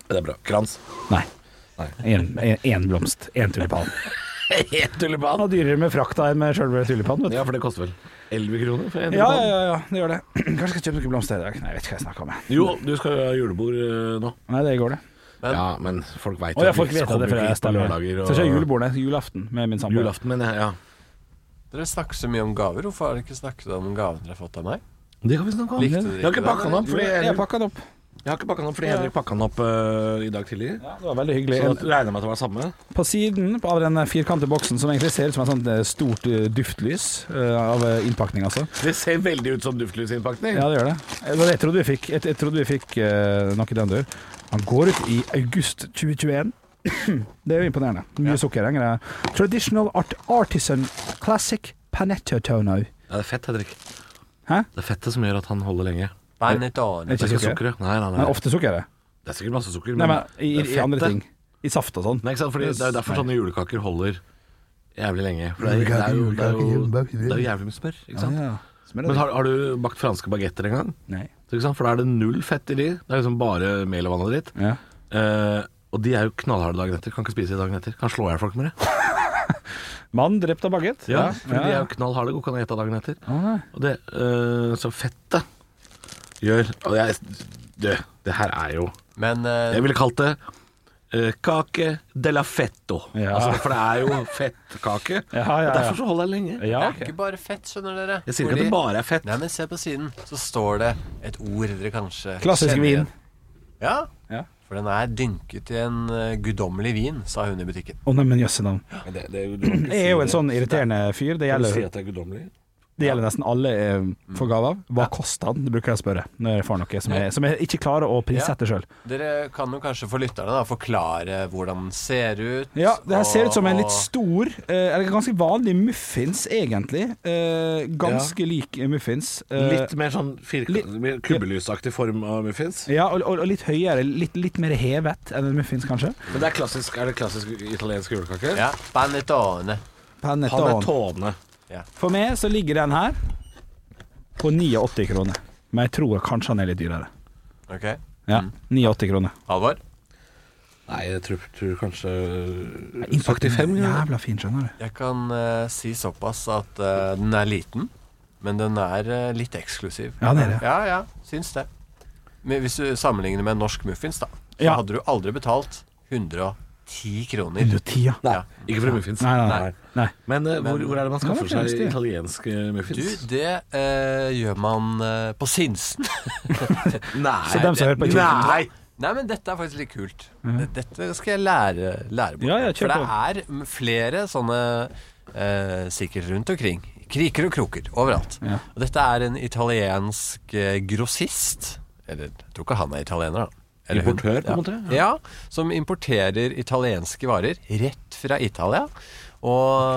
[SPEAKER 4] Det er bra. Krans.
[SPEAKER 3] Nei. Én blomst. Én tulipan.
[SPEAKER 4] Helt tulipan!
[SPEAKER 3] Og dyrere med frakta enn med sjølve tulipanen, vet du.
[SPEAKER 4] Ja, for det koster vel 11 kroner for en
[SPEAKER 3] Ja,
[SPEAKER 4] tulipan?
[SPEAKER 3] ja, ja, ja, det gjør det. Kanskje jeg skal kjøpe noen blomster i dag. Nei, jeg vet ikke hva jeg snakker om. jeg.
[SPEAKER 4] Jo, du skal jo ha julebord eh, nå.
[SPEAKER 3] Nei, det går, det.
[SPEAKER 6] Men-
[SPEAKER 4] Ja, men folk veit
[SPEAKER 3] Å, jeg får ikke vite det før jeg
[SPEAKER 4] på
[SPEAKER 3] stemmer.
[SPEAKER 4] lørdager
[SPEAKER 3] Så
[SPEAKER 4] og
[SPEAKER 3] ikke julebordet, julaften med min samboer.
[SPEAKER 4] julaften. Men ja, ja.
[SPEAKER 6] Dere snakker så mye om gaver. Hvorfor har dere ikke snakket om gavene dere har fått av meg?
[SPEAKER 4] Det kan vi snakke om.
[SPEAKER 6] Likte dere
[SPEAKER 4] jeg har ikke
[SPEAKER 6] ikke det?
[SPEAKER 4] pakka den opp
[SPEAKER 3] Jo,
[SPEAKER 4] fordi
[SPEAKER 3] Jeg pakka den opp.
[SPEAKER 4] Jeg har ikke pakka den opp fordi Henrik pakka den opp øh, i dag tidlig.
[SPEAKER 3] Ja, det var veldig hyggelig.
[SPEAKER 4] Så da regner jeg med at det var samme.
[SPEAKER 3] På siden av den firkantede boksen, som egentlig ser ut som et sånt eh, stort eh, duftlys eh, av eh, innpakning, altså.
[SPEAKER 4] Det ser veldig ut som duftlysinnpakning.
[SPEAKER 3] Ja, det gjør det. Jeg, jeg trodde vi fikk, jeg, jeg trodde vi fikk eh, noe i den dør. Han går ut i august 2021. det er jo imponerende. Mye sukker. engre. Traditional art, artisan classic panetto tono.
[SPEAKER 4] Ja, det er fett, Henrik.
[SPEAKER 3] Hæ?
[SPEAKER 4] Det er fettet som gjør at han holder lenge.
[SPEAKER 6] Benetton.
[SPEAKER 4] Det
[SPEAKER 3] Det
[SPEAKER 4] er ikke
[SPEAKER 3] sukker.
[SPEAKER 4] sukkeret. Nei, nei,
[SPEAKER 3] Men
[SPEAKER 4] nei.
[SPEAKER 3] ofte sukker er det.
[SPEAKER 4] Det er sikkert masse sukker,
[SPEAKER 3] Nei, men i,
[SPEAKER 4] det er
[SPEAKER 3] i andre
[SPEAKER 4] fettet.
[SPEAKER 3] ting. I saft og sånn.
[SPEAKER 4] Nei, ikke sant? Fordi det er jo derfor
[SPEAKER 3] Nei.
[SPEAKER 4] sånne julekaker holder jævlig lenge. For det er, det er, jo, det er, jo, det er jo jævlig mye smør. Ikke sant?
[SPEAKER 3] Ja, ja. Smeller
[SPEAKER 4] Men har, har du bakt franske bagetter en gang?
[SPEAKER 3] det. Nei.
[SPEAKER 4] Ikke sant? For da er det null fett i de. Det er liksom bare mel og vann og dritt.
[SPEAKER 3] Ja.
[SPEAKER 4] Eh, og de er jo knallharde dagen etter. Kan ikke spise de dagen etter. Kan slå i hjel folk med det.
[SPEAKER 3] Mann drept av baguett?
[SPEAKER 4] Ja, for de er jo knallharde og kan gjette dagen etter.
[SPEAKER 3] Å, nei.
[SPEAKER 4] Og det øh, Så fettet gjør Og jeg Du, det her er jo
[SPEAKER 6] Men eh,
[SPEAKER 4] Jeg ville kalt det øh, Kake de la fetto.
[SPEAKER 3] Ja.
[SPEAKER 4] Altså, for det er jo fettkake.
[SPEAKER 3] Ja, ja,
[SPEAKER 4] Og
[SPEAKER 3] ja.
[SPEAKER 4] Derfor så holder jeg lenge.
[SPEAKER 3] Ja,
[SPEAKER 6] det er
[SPEAKER 3] ok.
[SPEAKER 6] ikke bare fett, skjønner dere.
[SPEAKER 4] Jeg sier ikke at
[SPEAKER 6] Fordi-
[SPEAKER 4] det bare er fett.
[SPEAKER 6] Nei, men se på siden. Så står det et ord dere kanskje
[SPEAKER 3] Klassisk
[SPEAKER 6] kjenner
[SPEAKER 3] vin.
[SPEAKER 6] igjen. Ja.
[SPEAKER 3] Ja.
[SPEAKER 6] For den er dynket i en eh, guddommelig vin, sa hun i butikken.
[SPEAKER 3] Å nei, men jøsse navn.
[SPEAKER 4] Men det, det, du kan ikke
[SPEAKER 3] Jeg er jo en
[SPEAKER 4] si
[SPEAKER 3] sånn irriterende fyr.
[SPEAKER 4] det. Kan
[SPEAKER 3] Det
[SPEAKER 4] du
[SPEAKER 3] gjelder,
[SPEAKER 4] si at det er guddommelig?
[SPEAKER 3] det gjelder nesten alle jeg får gave av. Hva kosta den, bruker jeg å spørre når jeg får noe som jeg, som jeg ikke klarer å prissette sjøl.
[SPEAKER 6] Dere kan jo kanskje for lytterne da forklare hvordan den ser ut.
[SPEAKER 3] Ja, det her ser
[SPEAKER 6] og-
[SPEAKER 3] ut som en litt
[SPEAKER 6] og-
[SPEAKER 3] stor, eh, eller ganske vanlig muffins, egentlig. Eh, Ganske lik muffins. Eh,
[SPEAKER 4] Litt mer sånn
[SPEAKER 3] litt-
[SPEAKER 4] firkant, mer kubbelysaktig form av muffins?
[SPEAKER 3] Ja, og, og og litt høyere. Litt, litt mer hevet enn en muffins, kanskje.
[SPEAKER 4] Men det er, klassisk, er det klassisk italiensk julekake?
[SPEAKER 6] Ja. Panettone.
[SPEAKER 4] Han er
[SPEAKER 3] Panettone.
[SPEAKER 4] tåne.
[SPEAKER 3] For meg så ligger den her på 89 kroner. Men jeg tror kanskje han er litt dyrere.
[SPEAKER 6] Ok.
[SPEAKER 3] Ja, 89 kroner.
[SPEAKER 6] Halvor?
[SPEAKER 4] Nei, jeg tror, tror kanskje 75
[SPEAKER 3] Innpakten er
[SPEAKER 4] kroner.
[SPEAKER 3] Jævla fin, skjønner du.
[SPEAKER 6] Jeg kan eh, si såpass at eh, den er liten, men den er eh, litt eksklusiv.
[SPEAKER 3] Ja, det er det.
[SPEAKER 6] Ja, ja, syns det. Men hvis du sammenligner med en norsk muffins, da, så
[SPEAKER 3] Ja.
[SPEAKER 6] hadde du aldri betalt 110 kroner.
[SPEAKER 3] 110, ja.
[SPEAKER 4] Nei,
[SPEAKER 6] Ja.
[SPEAKER 4] ikke fra muffins.
[SPEAKER 3] Nei, nei, nei. nei.
[SPEAKER 4] Men, eh, hvor, hvor er det man skaffer
[SPEAKER 3] det er
[SPEAKER 4] seg
[SPEAKER 3] det.
[SPEAKER 4] italienske
[SPEAKER 6] Du,
[SPEAKER 4] muffins?
[SPEAKER 6] det eh, gjør man eh, på Sinsen.
[SPEAKER 4] nei,
[SPEAKER 3] Så dem som hører på Kirken-
[SPEAKER 4] nei.
[SPEAKER 6] Nei, men dette er faktisk litt kult. Dette skal jeg lære, lære bort.
[SPEAKER 3] Ja, ja, kjør
[SPEAKER 6] For det er flere sånne eh, sikkert rundt omkring. Kriker og kroker overalt.
[SPEAKER 3] Ja.
[SPEAKER 6] Og dette er en italiensk eh, grossist. Eller jeg tror ikke han er italiener, da. Eller hun.
[SPEAKER 4] Importør, på en måte,
[SPEAKER 6] Ja. som importerer italienske varer rett fra Italia. Og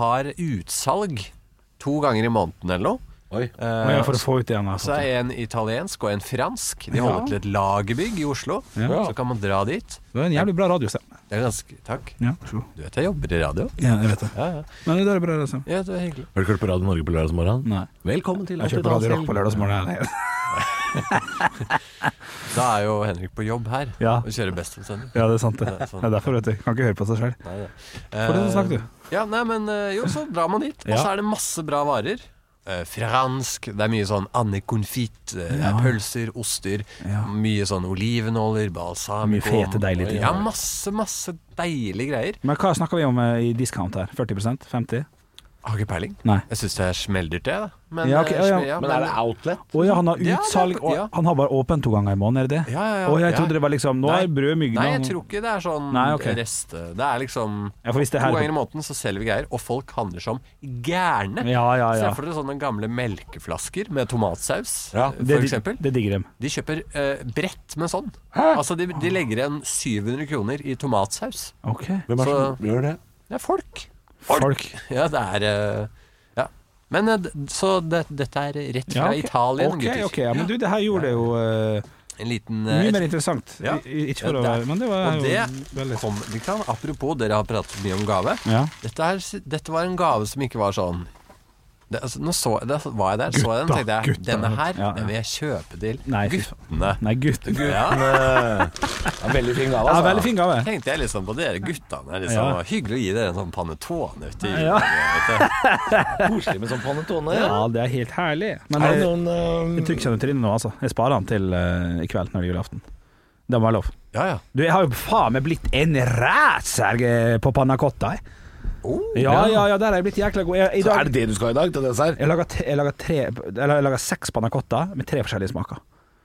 [SPEAKER 6] har utsalg to ganger i måneden eller noe.
[SPEAKER 4] Oi.
[SPEAKER 3] Men
[SPEAKER 6] Eh,
[SPEAKER 3] ja, for å få ut igjen
[SPEAKER 6] så er en italiensk og en fransk. De holder til et lagerbygg i Oslo.
[SPEAKER 3] Ja.
[SPEAKER 6] Så kan man dra dit.
[SPEAKER 3] Det er en jævlig bra radiostemme.
[SPEAKER 6] Det er ganske Takk.
[SPEAKER 3] Ja,
[SPEAKER 6] Du vet jeg jobber i radio?
[SPEAKER 3] jeg vet det.
[SPEAKER 6] Ja, ja.
[SPEAKER 3] Men det er bra radiostemme.
[SPEAKER 6] ja det er hyggelig.
[SPEAKER 4] Har du hørt på Radio Norge på lørdagsmorgenen?
[SPEAKER 3] Nei.
[SPEAKER 4] Velkommen til
[SPEAKER 3] Jeg kjører på Radio Rock på lørdagsmorgen. her.
[SPEAKER 6] Da er jo Henrik på jobb her
[SPEAKER 3] Ja.
[SPEAKER 6] og kjører Best-omsending.
[SPEAKER 3] Ja, det er sant det.
[SPEAKER 6] Ja, sånn.
[SPEAKER 3] Det er derfor, vet du. Kan ikke høre på seg sjøl. Fortsett å snakke, du.
[SPEAKER 6] Ja, nei, men eh, jo, så drar man dit. Og
[SPEAKER 3] Ja.
[SPEAKER 6] så er det masse bra varer. Eh, fransk. Det er mye sånn andekonfitt. eh, det er Pølser, oster.
[SPEAKER 3] Ja.
[SPEAKER 6] Mye sånn olivenåler, balsamico.
[SPEAKER 3] Mye fete, deilige ting.
[SPEAKER 6] Ja, masse, masse deilige greier.
[SPEAKER 3] Men hva snakker vi om eh, i discount her? 40 50
[SPEAKER 6] Har ikke peiling.
[SPEAKER 3] Nei.
[SPEAKER 6] Jeg syns det er smelldert, det. da. Men,
[SPEAKER 3] Ja, ok,
[SPEAKER 6] eh,
[SPEAKER 3] ja, ja.
[SPEAKER 6] smell-
[SPEAKER 4] Men er det outlet?
[SPEAKER 3] Å ja, han har
[SPEAKER 6] Ja, det er-
[SPEAKER 3] utsalg og
[SPEAKER 6] ja.
[SPEAKER 3] Han har bare åpent to ganger i måneden, er det det?
[SPEAKER 6] Ja, ja, ja.
[SPEAKER 3] Å, jeg
[SPEAKER 6] Ja.
[SPEAKER 3] trodde det var liksom Nå
[SPEAKER 6] Nei.
[SPEAKER 3] er brød mygla
[SPEAKER 6] Nei, jeg tror ikke det er sånn
[SPEAKER 3] Nei, ok.
[SPEAKER 6] rest... Det er liksom
[SPEAKER 3] Ja, for hvis det
[SPEAKER 6] To
[SPEAKER 3] her-
[SPEAKER 6] ganger i måneden så selger vi greier, og folk handler som gærne.
[SPEAKER 3] Ja, ja,
[SPEAKER 6] Se
[SPEAKER 3] ja.
[SPEAKER 6] for dere sånne gamle melkeflasker med tomatsaus,
[SPEAKER 4] Ja,
[SPEAKER 6] eh,
[SPEAKER 3] Det,
[SPEAKER 6] for eksempel.
[SPEAKER 3] det digger dem.
[SPEAKER 6] De kjøper eh, brett med sånn. Altså, de, de legger igjen 700 kroner i tomatsaus.
[SPEAKER 3] Ok.
[SPEAKER 4] Hvem er det
[SPEAKER 6] Så-
[SPEAKER 4] som gjør det?
[SPEAKER 6] Det er folk.
[SPEAKER 3] Folk.
[SPEAKER 6] Ja, det er eh, Ja. Men eh, d- så det, dette er rett
[SPEAKER 3] Ja,
[SPEAKER 6] fra
[SPEAKER 3] ok.
[SPEAKER 6] Italien,
[SPEAKER 3] Ok,
[SPEAKER 6] gutter.
[SPEAKER 3] ok, ja, Men du, det her gjorde det jo eh,
[SPEAKER 6] En liten eh,
[SPEAKER 3] mye
[SPEAKER 6] et-
[SPEAKER 3] mer interessant.
[SPEAKER 6] Ja.
[SPEAKER 3] I- i- Ikke for
[SPEAKER 6] Ja,
[SPEAKER 3] å
[SPEAKER 6] der.
[SPEAKER 3] være Men det var
[SPEAKER 6] Og
[SPEAKER 3] jo
[SPEAKER 6] det
[SPEAKER 3] veldig
[SPEAKER 6] kom liksom, Apropos, dere har pratet mye om gave.
[SPEAKER 3] Ja.
[SPEAKER 6] Dette, er, dette var en gave som ikke var sånn det, altså, Nå så, da var jeg der, så jeg den,
[SPEAKER 3] Gutta,
[SPEAKER 6] tenkte jeg
[SPEAKER 3] gutta.
[SPEAKER 6] Denne her,
[SPEAKER 3] Ja, ja.
[SPEAKER 6] den vil jeg kjøpe til
[SPEAKER 3] Nei, fy faen.
[SPEAKER 6] guttene.
[SPEAKER 3] Nei, gutt. Det
[SPEAKER 6] Ja,
[SPEAKER 4] Ja, veldig fin gave,
[SPEAKER 3] er
[SPEAKER 4] altså.
[SPEAKER 3] veldig fin gave.
[SPEAKER 6] tenkte jeg liksom på dere guttene. Liksom,
[SPEAKER 3] Ja.
[SPEAKER 6] Hyggelig å gi dere en sånn panetone ute i
[SPEAKER 3] Ja.
[SPEAKER 4] Koselig med sånn panetone.
[SPEAKER 3] Ja, det er helt herlig. Men
[SPEAKER 4] Er det
[SPEAKER 3] jeg,
[SPEAKER 4] noen eh,
[SPEAKER 3] jeg trykker ikke den til nå, altså. Jeg sparer den til eh, i kveld når det er julaften. Det må være lov.
[SPEAKER 6] Ja, ja.
[SPEAKER 3] Du, jeg har jo faen meg blitt en ræser eh, på panna cotta. jeg.
[SPEAKER 6] Oh,
[SPEAKER 3] Ja, ja, ja, der er jeg blitt jækla god. Jeg, i
[SPEAKER 4] Er det
[SPEAKER 3] dag,
[SPEAKER 4] det du skal ha i dag til dessert?
[SPEAKER 3] jeg laga tre, jeg laga tre Eller jeg laga seks panna cotta med tre forskjellige smaker.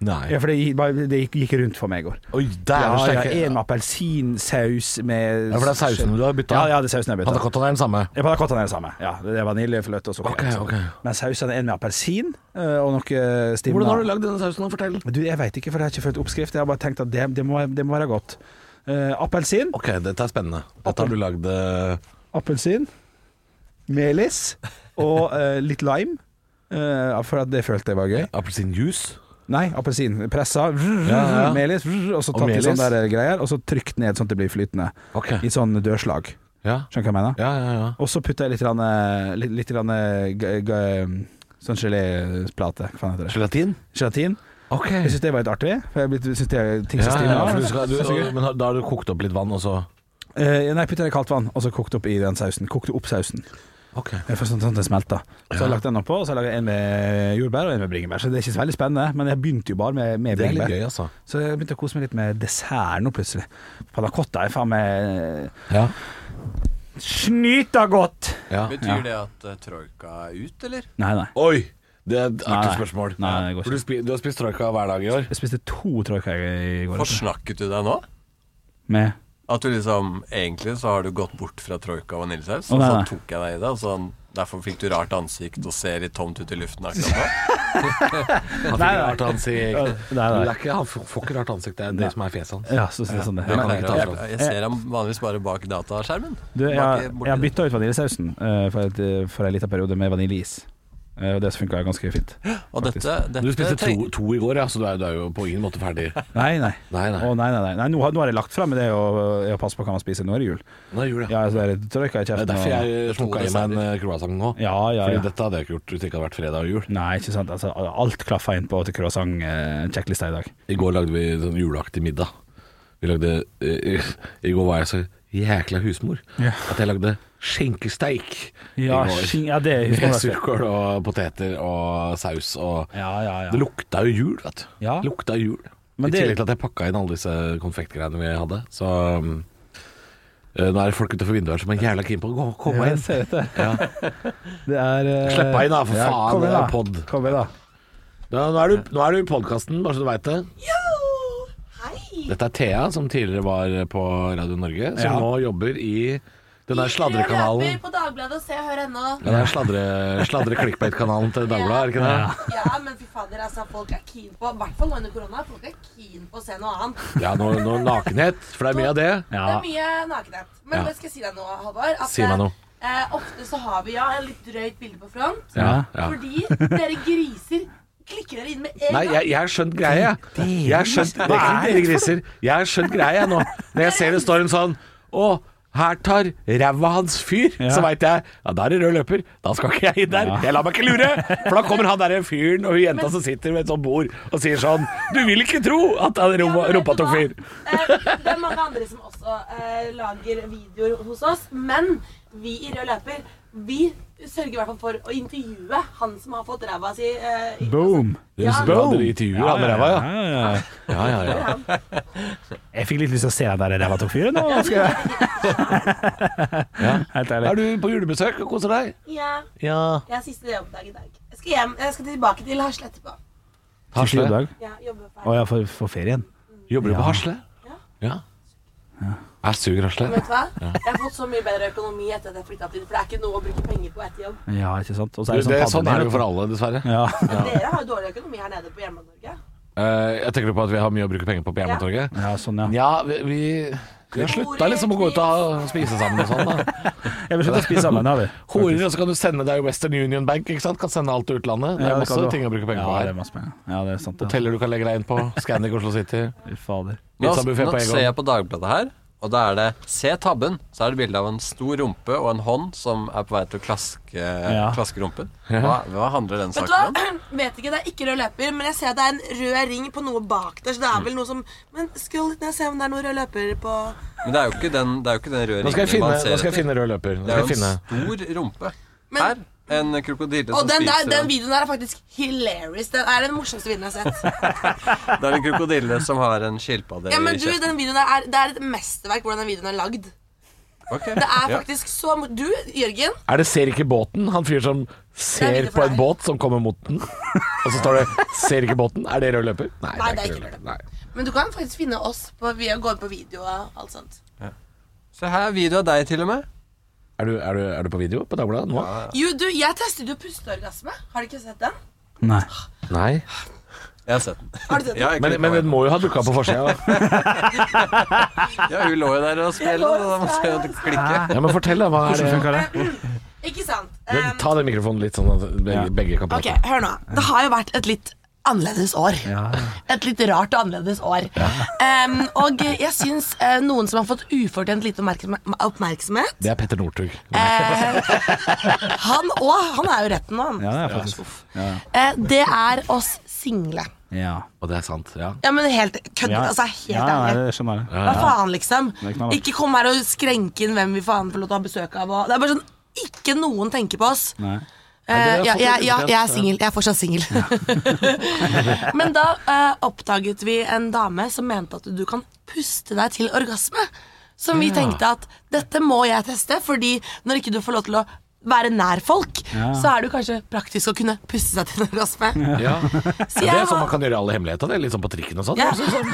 [SPEAKER 4] Nei.
[SPEAKER 3] Ja, for det, gikk bare- det gikk, gikk rundt for meg i går.
[SPEAKER 4] Oi,
[SPEAKER 3] Ja,
[SPEAKER 4] dæven
[SPEAKER 3] ja,
[SPEAKER 4] steike.
[SPEAKER 3] en med appelsinsaus med
[SPEAKER 4] Ja, for det er sausen du har bytta.
[SPEAKER 3] Ja, ja, det er sausen jeg bytta.
[SPEAKER 4] Panna cottaen er den samme.
[SPEAKER 3] Ja, panna cottaen er det samme. Ja, det er vaniljefløte og sukker.
[SPEAKER 4] Ok, ok.
[SPEAKER 3] Men sausen er en med appelsin eh, og noe stivna
[SPEAKER 4] Hvordan har du lagd denne sausen? Fortell.
[SPEAKER 3] Du, jeg veit ikke, for jeg har ikke fulgt oppskrift. Jeg har bare tenkt at det, det, må, det må være godt. Eh, appelsin,
[SPEAKER 4] Ok, dette er spennende. Dette har du lagd eh,
[SPEAKER 3] appelsin, melis og eh, litt lime. eh, for at det følte jeg var gøy.
[SPEAKER 4] appelsinjuice.
[SPEAKER 3] Nei, appelsin. Pressa, vrr,
[SPEAKER 4] Ja, ja.
[SPEAKER 3] melis, vrr, og så
[SPEAKER 4] Og
[SPEAKER 3] tatt i
[SPEAKER 4] melis.
[SPEAKER 3] sånne der greier. Og så trykt ned sånn at det blir flytende.
[SPEAKER 4] Ok.
[SPEAKER 3] I sånn dørslag.
[SPEAKER 4] Ja,
[SPEAKER 3] Skjønner du hva jeg mener?
[SPEAKER 4] ja, ja. ja.
[SPEAKER 3] Og så putta jeg litt, grann, eh, litt, litt grann, eh, g g sånn geléplate. Hva faen heter det?
[SPEAKER 4] Gelatin?
[SPEAKER 3] Gelatin.
[SPEAKER 4] Ok.
[SPEAKER 3] Jeg syns det var litt artig, for jeg blitt- synes det er ting
[SPEAKER 4] Ja,
[SPEAKER 3] som stivner.
[SPEAKER 4] ja, for du skal,
[SPEAKER 3] Det
[SPEAKER 4] du,
[SPEAKER 3] er så gøy.
[SPEAKER 4] men har- da har du kokt opp litt vann, og så
[SPEAKER 3] Eh, nei, putter det i kaldt vann, og så kokte opp i den sausen. Kokte opp sausen.
[SPEAKER 4] Ok.
[SPEAKER 3] Eh, For sånn, sånn at den smelta. Så har jeg lagt den oppå, og så har jeg laget en med jordbær og en med bringebær. Så det er ikke så veldig spennende, men jeg begynte jo bare med, med
[SPEAKER 4] Det er litt
[SPEAKER 3] bringebær.
[SPEAKER 4] gøy, altså.
[SPEAKER 3] Så jeg begynte å kose meg litt med dessert nå, plutselig. Panna cotta er faen meg
[SPEAKER 4] Ja.
[SPEAKER 3] Snyta godt!
[SPEAKER 4] ja.
[SPEAKER 6] Betyr det at uh, troika er ut, eller?
[SPEAKER 3] Nei, nei.
[SPEAKER 4] Oi! Det er et
[SPEAKER 3] Nei,
[SPEAKER 4] artig
[SPEAKER 3] nei.
[SPEAKER 4] spørsmål.
[SPEAKER 3] Nei, nei, det går
[SPEAKER 4] For du, spi, du har spist troika hver dag i år.
[SPEAKER 3] Jeg spiste to troika i går.
[SPEAKER 6] Forsnakket du deg nå?
[SPEAKER 3] Med
[SPEAKER 6] At du liksom, Egentlig så har du gått bort fra troika og vaniljesaus,
[SPEAKER 3] Å,
[SPEAKER 6] og
[SPEAKER 3] nei,
[SPEAKER 6] så
[SPEAKER 3] nei.
[SPEAKER 6] tok jeg deg i det. Og sånn, derfor fikk du rart ansikt og ser litt tomt ut i luften akkurat nå.
[SPEAKER 4] Han fikk
[SPEAKER 3] Nei, nei.
[SPEAKER 4] rart ansikt.
[SPEAKER 3] Ja, nei, nei.
[SPEAKER 4] Det er ikke, han får får ikke rart ansikt, det er det som er fjeset hans.
[SPEAKER 3] Ja, så så- sånn det.
[SPEAKER 4] Ja,
[SPEAKER 3] Men,
[SPEAKER 4] kan
[SPEAKER 6] Jeg,
[SPEAKER 4] ikke ta
[SPEAKER 6] jeg,
[SPEAKER 4] fra
[SPEAKER 6] jeg ser ham vanligvis bare bak dataskjermen.
[SPEAKER 3] du, jeg,
[SPEAKER 6] Bak-
[SPEAKER 3] jeg
[SPEAKER 6] borti
[SPEAKER 3] har
[SPEAKER 6] det.
[SPEAKER 3] bytta ut vaniljesausen eh, for, et, for en liten periode med vaniljeis. Eh, Og det funka ganske fint.
[SPEAKER 6] Og dette, dette
[SPEAKER 4] Du spiste to,
[SPEAKER 6] treng-
[SPEAKER 4] to i går, ja, så du er, du er jo på ingen måte ferdig.
[SPEAKER 3] Nei, nei.
[SPEAKER 4] Nei, nei.
[SPEAKER 3] Å, nei, nei, nei. nei nå, har, nå har jeg lagt frem med det og, og passet på hva man spiser. Nå er det jul.
[SPEAKER 4] Nå er jul, ja.
[SPEAKER 3] Ja, så er det trøkka i
[SPEAKER 4] Det er
[SPEAKER 3] kjeften.
[SPEAKER 4] derfor jeg
[SPEAKER 6] to
[SPEAKER 4] slukka i meg en eh, croissant nå.
[SPEAKER 3] og... Ja, ja,
[SPEAKER 4] Fordi
[SPEAKER 3] ja.
[SPEAKER 4] dette hadde jeg ikke gjort hvis det ikke hadde vært fredag og jul.
[SPEAKER 3] Nei, ikke sant. Altså, alt klaffa inn på til croissant-sjekklista i dag.
[SPEAKER 4] I går lagde vi sånn juleaktig middag. Vi lagde eh, I går var jeg så jækla husmor
[SPEAKER 3] Ja.
[SPEAKER 4] at jeg lagde skjenkesteik
[SPEAKER 3] Ja,
[SPEAKER 4] i går.
[SPEAKER 3] skin- ja, det husker
[SPEAKER 4] Med
[SPEAKER 3] jeg.
[SPEAKER 4] surkål og poteter og saus og
[SPEAKER 3] Ja, ja,
[SPEAKER 4] Det
[SPEAKER 3] ja.
[SPEAKER 4] lukta jo jul, vet du.
[SPEAKER 3] Ja.
[SPEAKER 4] Lukta jul.
[SPEAKER 3] Men
[SPEAKER 4] I
[SPEAKER 3] det-
[SPEAKER 4] tillegg til at jeg pakka inn alle disse konfektgreiene vi hadde. Så um, eh, nå er det folk utenfor vinduet her som er jævla keen på å gå- komme
[SPEAKER 3] Jeg
[SPEAKER 4] inn.
[SPEAKER 3] ser dette. Det er eh,
[SPEAKER 4] Slipp meg inn da, for
[SPEAKER 3] ja,
[SPEAKER 4] faen,
[SPEAKER 3] Kom inn,
[SPEAKER 4] det
[SPEAKER 3] da.
[SPEAKER 4] er podd.
[SPEAKER 3] Kom inn, da.
[SPEAKER 4] Ja, nå, er du, nå er du i podkasten, bare så du veit det. Dette er Thea, som tidligere var på Radio Norge, som
[SPEAKER 3] Ja.
[SPEAKER 4] nå jobber i den der sladrekanalen.
[SPEAKER 7] på Dagbladet og Se og Hør ennå.
[SPEAKER 4] Ja, Den der sladre, sladre clickbait-kanalen til Dagbladet, er det ikke det?
[SPEAKER 7] Ja, men fy fader, altså, folk er keen på I hvert fall nå under korona. Folk er keen på å se noe annet.
[SPEAKER 4] Ja, noe, noe nakenhet, for det er mye av det.
[SPEAKER 7] Det er mye nakenhet. Men
[SPEAKER 4] Ja.
[SPEAKER 7] hva skal jeg si deg nå, Halvor? at,
[SPEAKER 4] Si meg noe.
[SPEAKER 7] eh, Eh, ofte så har vi ja en litt drøyt bilde på front.
[SPEAKER 4] Ja, ja.
[SPEAKER 7] Fordi dere griser klikker dere inn med en
[SPEAKER 4] Nei,
[SPEAKER 7] gang.
[SPEAKER 4] jeg jeg har skjønt greia. Jeg har skjønt, det er ikke dere griser. Jeg har skjønt greia nå. Når jeg ser det står en sånn Å, her tar ræva hans fyr, så veit jeg Ja, da er det rød løper. Da skal ikke jeg inn der. Jeg lar meg ikke lure. For da kommer han derre fyren og hun jenta som sitter ved et sånt bord og sier sånn Du vil ikke tro at han
[SPEAKER 7] Ja,
[SPEAKER 4] rumpa,
[SPEAKER 7] men vet
[SPEAKER 4] rumpa
[SPEAKER 7] du
[SPEAKER 4] tok
[SPEAKER 7] hva?
[SPEAKER 4] fyr.
[SPEAKER 7] Eh, det er mange andre som også eh, lager videoer hos oss, men vi i Rød Løper, vi sørger i hvert fall for å intervjue han som har fått ræva si eh, i-
[SPEAKER 3] Boom!
[SPEAKER 4] Ja,
[SPEAKER 3] Boom.
[SPEAKER 4] Dere intervjuer han med ræva, ja.
[SPEAKER 3] ja, ja.
[SPEAKER 4] Ja, ja, ja.
[SPEAKER 3] Jeg fikk litt lyst til å se den der ræva tok fyr nå. Skal jeg. Helt ærlig.
[SPEAKER 4] Er du på julebesøk og koser deg?
[SPEAKER 7] Ja,
[SPEAKER 4] Ja.
[SPEAKER 7] jeg har siste jobbdag i dag. Jeg skal hjem, jeg skal tilbake til Hasle etterpå.
[SPEAKER 3] Siste
[SPEAKER 4] Hasle.
[SPEAKER 3] jobbdag?
[SPEAKER 7] Ja, jobbe på
[SPEAKER 3] Å
[SPEAKER 7] her.
[SPEAKER 3] ja, for, for ferien.
[SPEAKER 4] Jobber du
[SPEAKER 3] Ja.
[SPEAKER 4] på Hasle?
[SPEAKER 7] Ja.
[SPEAKER 4] Ja. Jeg suger Hasle.
[SPEAKER 7] Vet du hva? Jeg har fått så mye bedre økonomi etter at jeg flytta opp dit, for det er ikke noe å bruke penger på etter jobb.
[SPEAKER 3] Ja, ikke sant. Og så
[SPEAKER 4] Det,
[SPEAKER 3] er det sånn
[SPEAKER 4] sånn er det jo
[SPEAKER 3] pandemi.
[SPEAKER 4] for alle, dessverre.
[SPEAKER 3] Ja.
[SPEAKER 7] Men Dere har jo dårlig økonomi her nede på Hjemme-Norge.
[SPEAKER 4] Eh, jeg tenker du på at vi har mye å bruke penger på på hjemmetorget?
[SPEAKER 3] ja, sånn, ja.
[SPEAKER 4] Ja, vi, vi, vi har slutta liksom å gå ut og spise sammen og sånn. da
[SPEAKER 3] Jeg vil slutte å spise sammen, har vi.
[SPEAKER 4] Horer, og så kan du sende deg Western Union Bank. ikke sant? Kan sende alt til utlandet. Det
[SPEAKER 3] Ja,
[SPEAKER 4] er
[SPEAKER 3] kan
[SPEAKER 4] masse
[SPEAKER 3] du.
[SPEAKER 4] ting å bruke penger på
[SPEAKER 3] Ja, det
[SPEAKER 4] her.
[SPEAKER 3] er masse penger. Ja, det er sant. Ja.
[SPEAKER 4] Hoteller du kan legge deg inn på. Scandic Oslo City.
[SPEAKER 3] Fy fader.
[SPEAKER 6] Nå,
[SPEAKER 4] Pizzabuffé
[SPEAKER 6] nå
[SPEAKER 4] på
[SPEAKER 6] ser
[SPEAKER 4] Egon.
[SPEAKER 6] jeg på Dagbladet her, og da er det Se tabben! Så er det bilde av en stor rumpe og en hånd som er på vei til å klaske, klaske rumpen. Hva, hva handler den
[SPEAKER 7] Vet du
[SPEAKER 6] saken om?
[SPEAKER 7] hva? Vet ikke, det er ikke rød løper, men jeg ser at det er en rød ring på noe bak der, så det er vel noe som Men skroll litt ned og se om det er noe rød løper på
[SPEAKER 6] Men det er jo ikke den, det er jo ikke den røde
[SPEAKER 4] Nå skal jeg
[SPEAKER 6] ringen
[SPEAKER 4] finne,
[SPEAKER 6] man ser
[SPEAKER 4] nå skal jeg
[SPEAKER 6] etter.
[SPEAKER 4] finne rød løper. Nå
[SPEAKER 6] Det
[SPEAKER 4] skal
[SPEAKER 6] er
[SPEAKER 4] jeg
[SPEAKER 6] jo
[SPEAKER 4] finne.
[SPEAKER 6] en stor rumpe.
[SPEAKER 7] Men-
[SPEAKER 6] Her. En krokodille
[SPEAKER 7] Og
[SPEAKER 6] som
[SPEAKER 7] den, der,
[SPEAKER 6] spiser
[SPEAKER 7] den
[SPEAKER 6] en-
[SPEAKER 7] videoen der er faktisk hilarious. Den er den morsomste videoen jeg har sett.
[SPEAKER 6] Det er en krokodille som har en skilpadde
[SPEAKER 7] Ja, men
[SPEAKER 6] i
[SPEAKER 7] du,
[SPEAKER 6] kjeften.
[SPEAKER 7] den videoen der er, Det er et mesterverk hvordan den videoen er lagd.
[SPEAKER 6] Ok.
[SPEAKER 7] Det er
[SPEAKER 6] Ja.
[SPEAKER 7] faktisk så mor- Du, Jørgen,
[SPEAKER 4] Er det 'ser ikke båten'? Han fyr som
[SPEAKER 7] Det er
[SPEAKER 4] ser
[SPEAKER 7] bildet for
[SPEAKER 4] på en
[SPEAKER 7] deg.
[SPEAKER 4] båt som kommer mot den. Og så står det 'ser ikke båten'. Er det rød løper?
[SPEAKER 7] Nei, det er ikke rød
[SPEAKER 4] løper. Nei.
[SPEAKER 7] men du kan faktisk finne oss på, ved å gå inn på video og alt sånt.
[SPEAKER 6] Se her, video av deg til og med.
[SPEAKER 4] Er, du, er, du, er du på video på Dagbladet nå?
[SPEAKER 7] Jo, du, jeg testet jo pusteorgasme. Har du ikke sett den?
[SPEAKER 3] Nei.
[SPEAKER 4] Nei.
[SPEAKER 6] Jeg har sett den.
[SPEAKER 7] Har du sett den?
[SPEAKER 6] Ja, jeg
[SPEAKER 4] Men,
[SPEAKER 6] klikket
[SPEAKER 4] men
[SPEAKER 6] på
[SPEAKER 4] den
[SPEAKER 6] den.
[SPEAKER 4] må jo ha dukka på forsida.
[SPEAKER 6] ja, hun lå jo der og spilte, og da måtte jeg klikke.
[SPEAKER 4] Ja, men fortell, da. Hva er det?
[SPEAKER 3] Hvordan
[SPEAKER 7] Um,
[SPEAKER 3] funker det?
[SPEAKER 7] Eh, mm. Ikke sant?
[SPEAKER 4] Men
[SPEAKER 7] Um,
[SPEAKER 4] Ta den mikrofonen litt sånn at begge,
[SPEAKER 3] Ja.
[SPEAKER 4] begge kan
[SPEAKER 7] ok,
[SPEAKER 4] prate.
[SPEAKER 7] hør nå. Det har jo vært et litt annerledes år. Et litt rart og annerledes år. Um, og jeg syns eh, noen som har fått ufortjent lite oppmerksom- oppmerksomhet
[SPEAKER 4] Det er Petter Northug.
[SPEAKER 7] eh, Han òg. Han er jo retten nå, han.
[SPEAKER 3] Ja, det er faktisk
[SPEAKER 7] Eh, det er oss single.
[SPEAKER 3] Ja.
[SPEAKER 4] Og det er sant. Ja.
[SPEAKER 7] Ja, men helt kødd.
[SPEAKER 3] Ja.
[SPEAKER 7] Altså, helt
[SPEAKER 3] Ja, nei,
[SPEAKER 7] ærlig.
[SPEAKER 3] det skjønner jeg.
[SPEAKER 7] Hva faen, liksom?
[SPEAKER 3] er ikke noe annet.
[SPEAKER 7] Ikke kom her og skrenke inn hvem vi faen får lov til å ha besøk av. Og det er bare sånn Ikke noen tenker på oss.
[SPEAKER 3] Nei.
[SPEAKER 7] Eh,
[SPEAKER 4] det
[SPEAKER 7] ja,
[SPEAKER 4] er
[SPEAKER 7] ja, ja,
[SPEAKER 4] fortsatt
[SPEAKER 7] jeg er
[SPEAKER 4] upotent,
[SPEAKER 7] singel. Jeg er fortsatt singel. Men da eh, oppdaget vi en dame som mente at du kan puste deg til orgasme. Som vi tenkte at dette må jeg teste, fordi når ikke du får lov til å være nær folk, så er det jo kanskje praktisk å kunne puste seg til orgasme.
[SPEAKER 4] Ja.
[SPEAKER 7] Så
[SPEAKER 4] Det
[SPEAKER 7] jeg
[SPEAKER 4] er sånn
[SPEAKER 7] har-
[SPEAKER 4] man kan gjøre all hemmelighet av det. Litt sånn på trikken og sånn.
[SPEAKER 7] Ja.
[SPEAKER 4] Også sånn.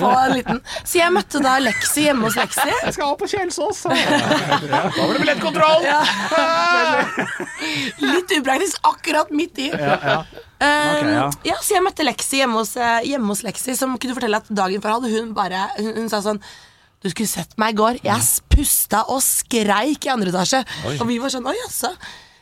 [SPEAKER 7] Få en liten. Så jeg møtte da Lexi hjemme hos Lexi.
[SPEAKER 4] Jeg skal ha på Kjelsås! sa jeg. Da var det billettkontroll!
[SPEAKER 7] Ja. Litt upraktisk akkurat midt i. Eh,
[SPEAKER 3] Ok, ja.
[SPEAKER 7] ja, så jeg møtte Lexi hjemme hos, eh, hjemme hos Lexi, som kunne fortelle at dagen før hadde hun bare Hun, hun sa sånn du skulle sett meg i går. Jeg pusta og skreik i andre etasje. Og vi var sånn, oi jaså.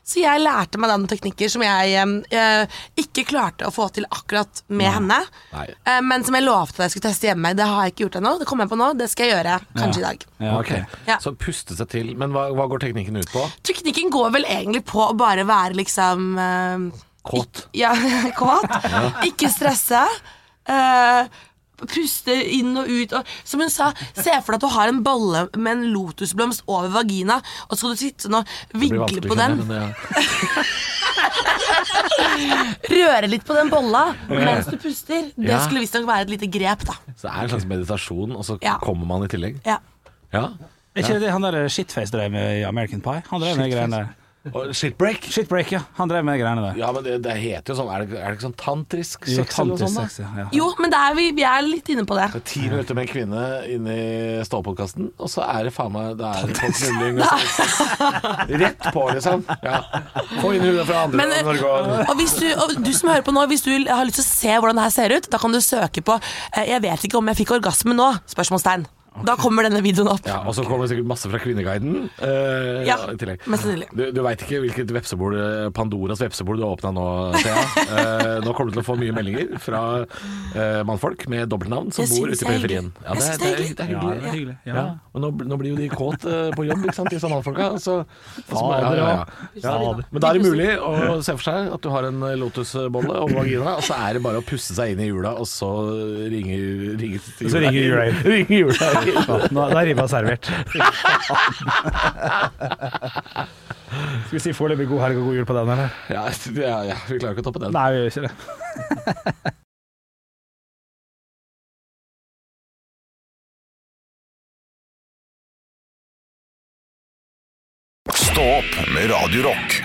[SPEAKER 7] Så jeg lærte meg da noen teknikker som jeg eh, eh, ikke klarte å få til akkurat med
[SPEAKER 3] Mm.
[SPEAKER 7] henne.
[SPEAKER 4] Nei.
[SPEAKER 7] Eh, men som jeg lovte at jeg skulle teste hjemme. Det har jeg ikke gjort ennå. Det kommer jeg på nå. Det skal jeg gjøre kanskje i dag.
[SPEAKER 3] Ja, ok.
[SPEAKER 4] Ok.
[SPEAKER 7] Ja.
[SPEAKER 4] Så puste seg til. Men hva, hva går teknikken ut på?
[SPEAKER 7] Teknikken går vel egentlig på å bare være liksom eh,
[SPEAKER 4] Kåt.
[SPEAKER 7] Ja, kåt. Ikke stresse. eh, puste inn og ut. Og, som hun sa, se for deg at du har en bolle med en lotusblomst over vagina, og så skal du sitte sånn og
[SPEAKER 4] Det blir
[SPEAKER 7] vigle
[SPEAKER 4] vanskelig,
[SPEAKER 7] på den.
[SPEAKER 4] skjønner jeg, men det-
[SPEAKER 7] Røre litt på den bolla mens du puster. Det
[SPEAKER 4] Ja.
[SPEAKER 7] skulle visstnok være et lite grep, da.
[SPEAKER 4] Så det er en slags meditasjon, og så
[SPEAKER 7] Ja.
[SPEAKER 4] kommer man i tillegg.
[SPEAKER 7] Ja.
[SPEAKER 4] Ja.
[SPEAKER 3] Er ikke det han der eh, Shitface drev med i American Pie? Han drev med de greiene der.
[SPEAKER 4] Og shitbreak.
[SPEAKER 3] Shitbreak, ja. Han drev med de greiene der.
[SPEAKER 4] Ja, men det, det heter jo sånn Er det, er det ikke sånn tantrisk
[SPEAKER 3] Jo,
[SPEAKER 4] sex eller noe sånt? da?
[SPEAKER 3] tantrisk sex, ja.
[SPEAKER 7] Jo, men det er vi, vi er litt inne på det.
[SPEAKER 4] Det er Ti minutter med en kvinne inni ståpodkasten, og så er det faen meg Det er folkmulling og sånn. Rett på, liksom. Ja. Få inn huet fra andre
[SPEAKER 7] Men, eh,
[SPEAKER 4] Norge og
[SPEAKER 7] Og, hvis du, og du som hører på nå, hvis du har lyst til å se hvordan det her ser ut, da kan du søke på eh, 'Jeg vet ikke om jeg fikk orgasme nå?' spørsmålstegn. Da kommer denne videoen opp.
[SPEAKER 4] Ja, og så kommer det sikkert masse fra Kvinneguiden. eh,
[SPEAKER 7] Ja,
[SPEAKER 4] i tillegg.
[SPEAKER 7] mest sannsynlig.
[SPEAKER 4] Du, du veit ikke hvilket vepsebol, eh, Pandoras vepsebol du har åpna nå, Thea. Eh, nå kommer du til å få mye meldinger fra eh, mannfolk med dobbeltnavn som
[SPEAKER 7] Jeg
[SPEAKER 4] bor ute i
[SPEAKER 7] synes det er hyggelig.
[SPEAKER 4] periferien. Ja,
[SPEAKER 7] Jeg
[SPEAKER 4] det, det,
[SPEAKER 7] synes det er
[SPEAKER 4] er, det er
[SPEAKER 3] Ja, det
[SPEAKER 4] hyggelig.
[SPEAKER 3] er hyggelig.
[SPEAKER 4] Ja.
[SPEAKER 3] Ja.
[SPEAKER 4] Og nå, bl- nå blir jo de kåt eh, på jobb, ikke sant, disse mannfolka. Så, og så- ja, ja, ja.
[SPEAKER 7] Ja.
[SPEAKER 4] Men da er det mulig å se for seg at du har en eh, lotusbolle og vagina, og så er det bare å puste seg inn i hjula, og så ringer, ringer
[SPEAKER 3] Så ringer jula inn.
[SPEAKER 4] Ringer jula inn.
[SPEAKER 3] Nå, da er ribba servert. Skal vi si foreløpig god helg og god jul på den, eller?
[SPEAKER 4] Ja, ja, ja, vi klarer ikke å toppe den.
[SPEAKER 3] Nei, vi gjør ikke det.
[SPEAKER 1] Stå opp med Radio Rock.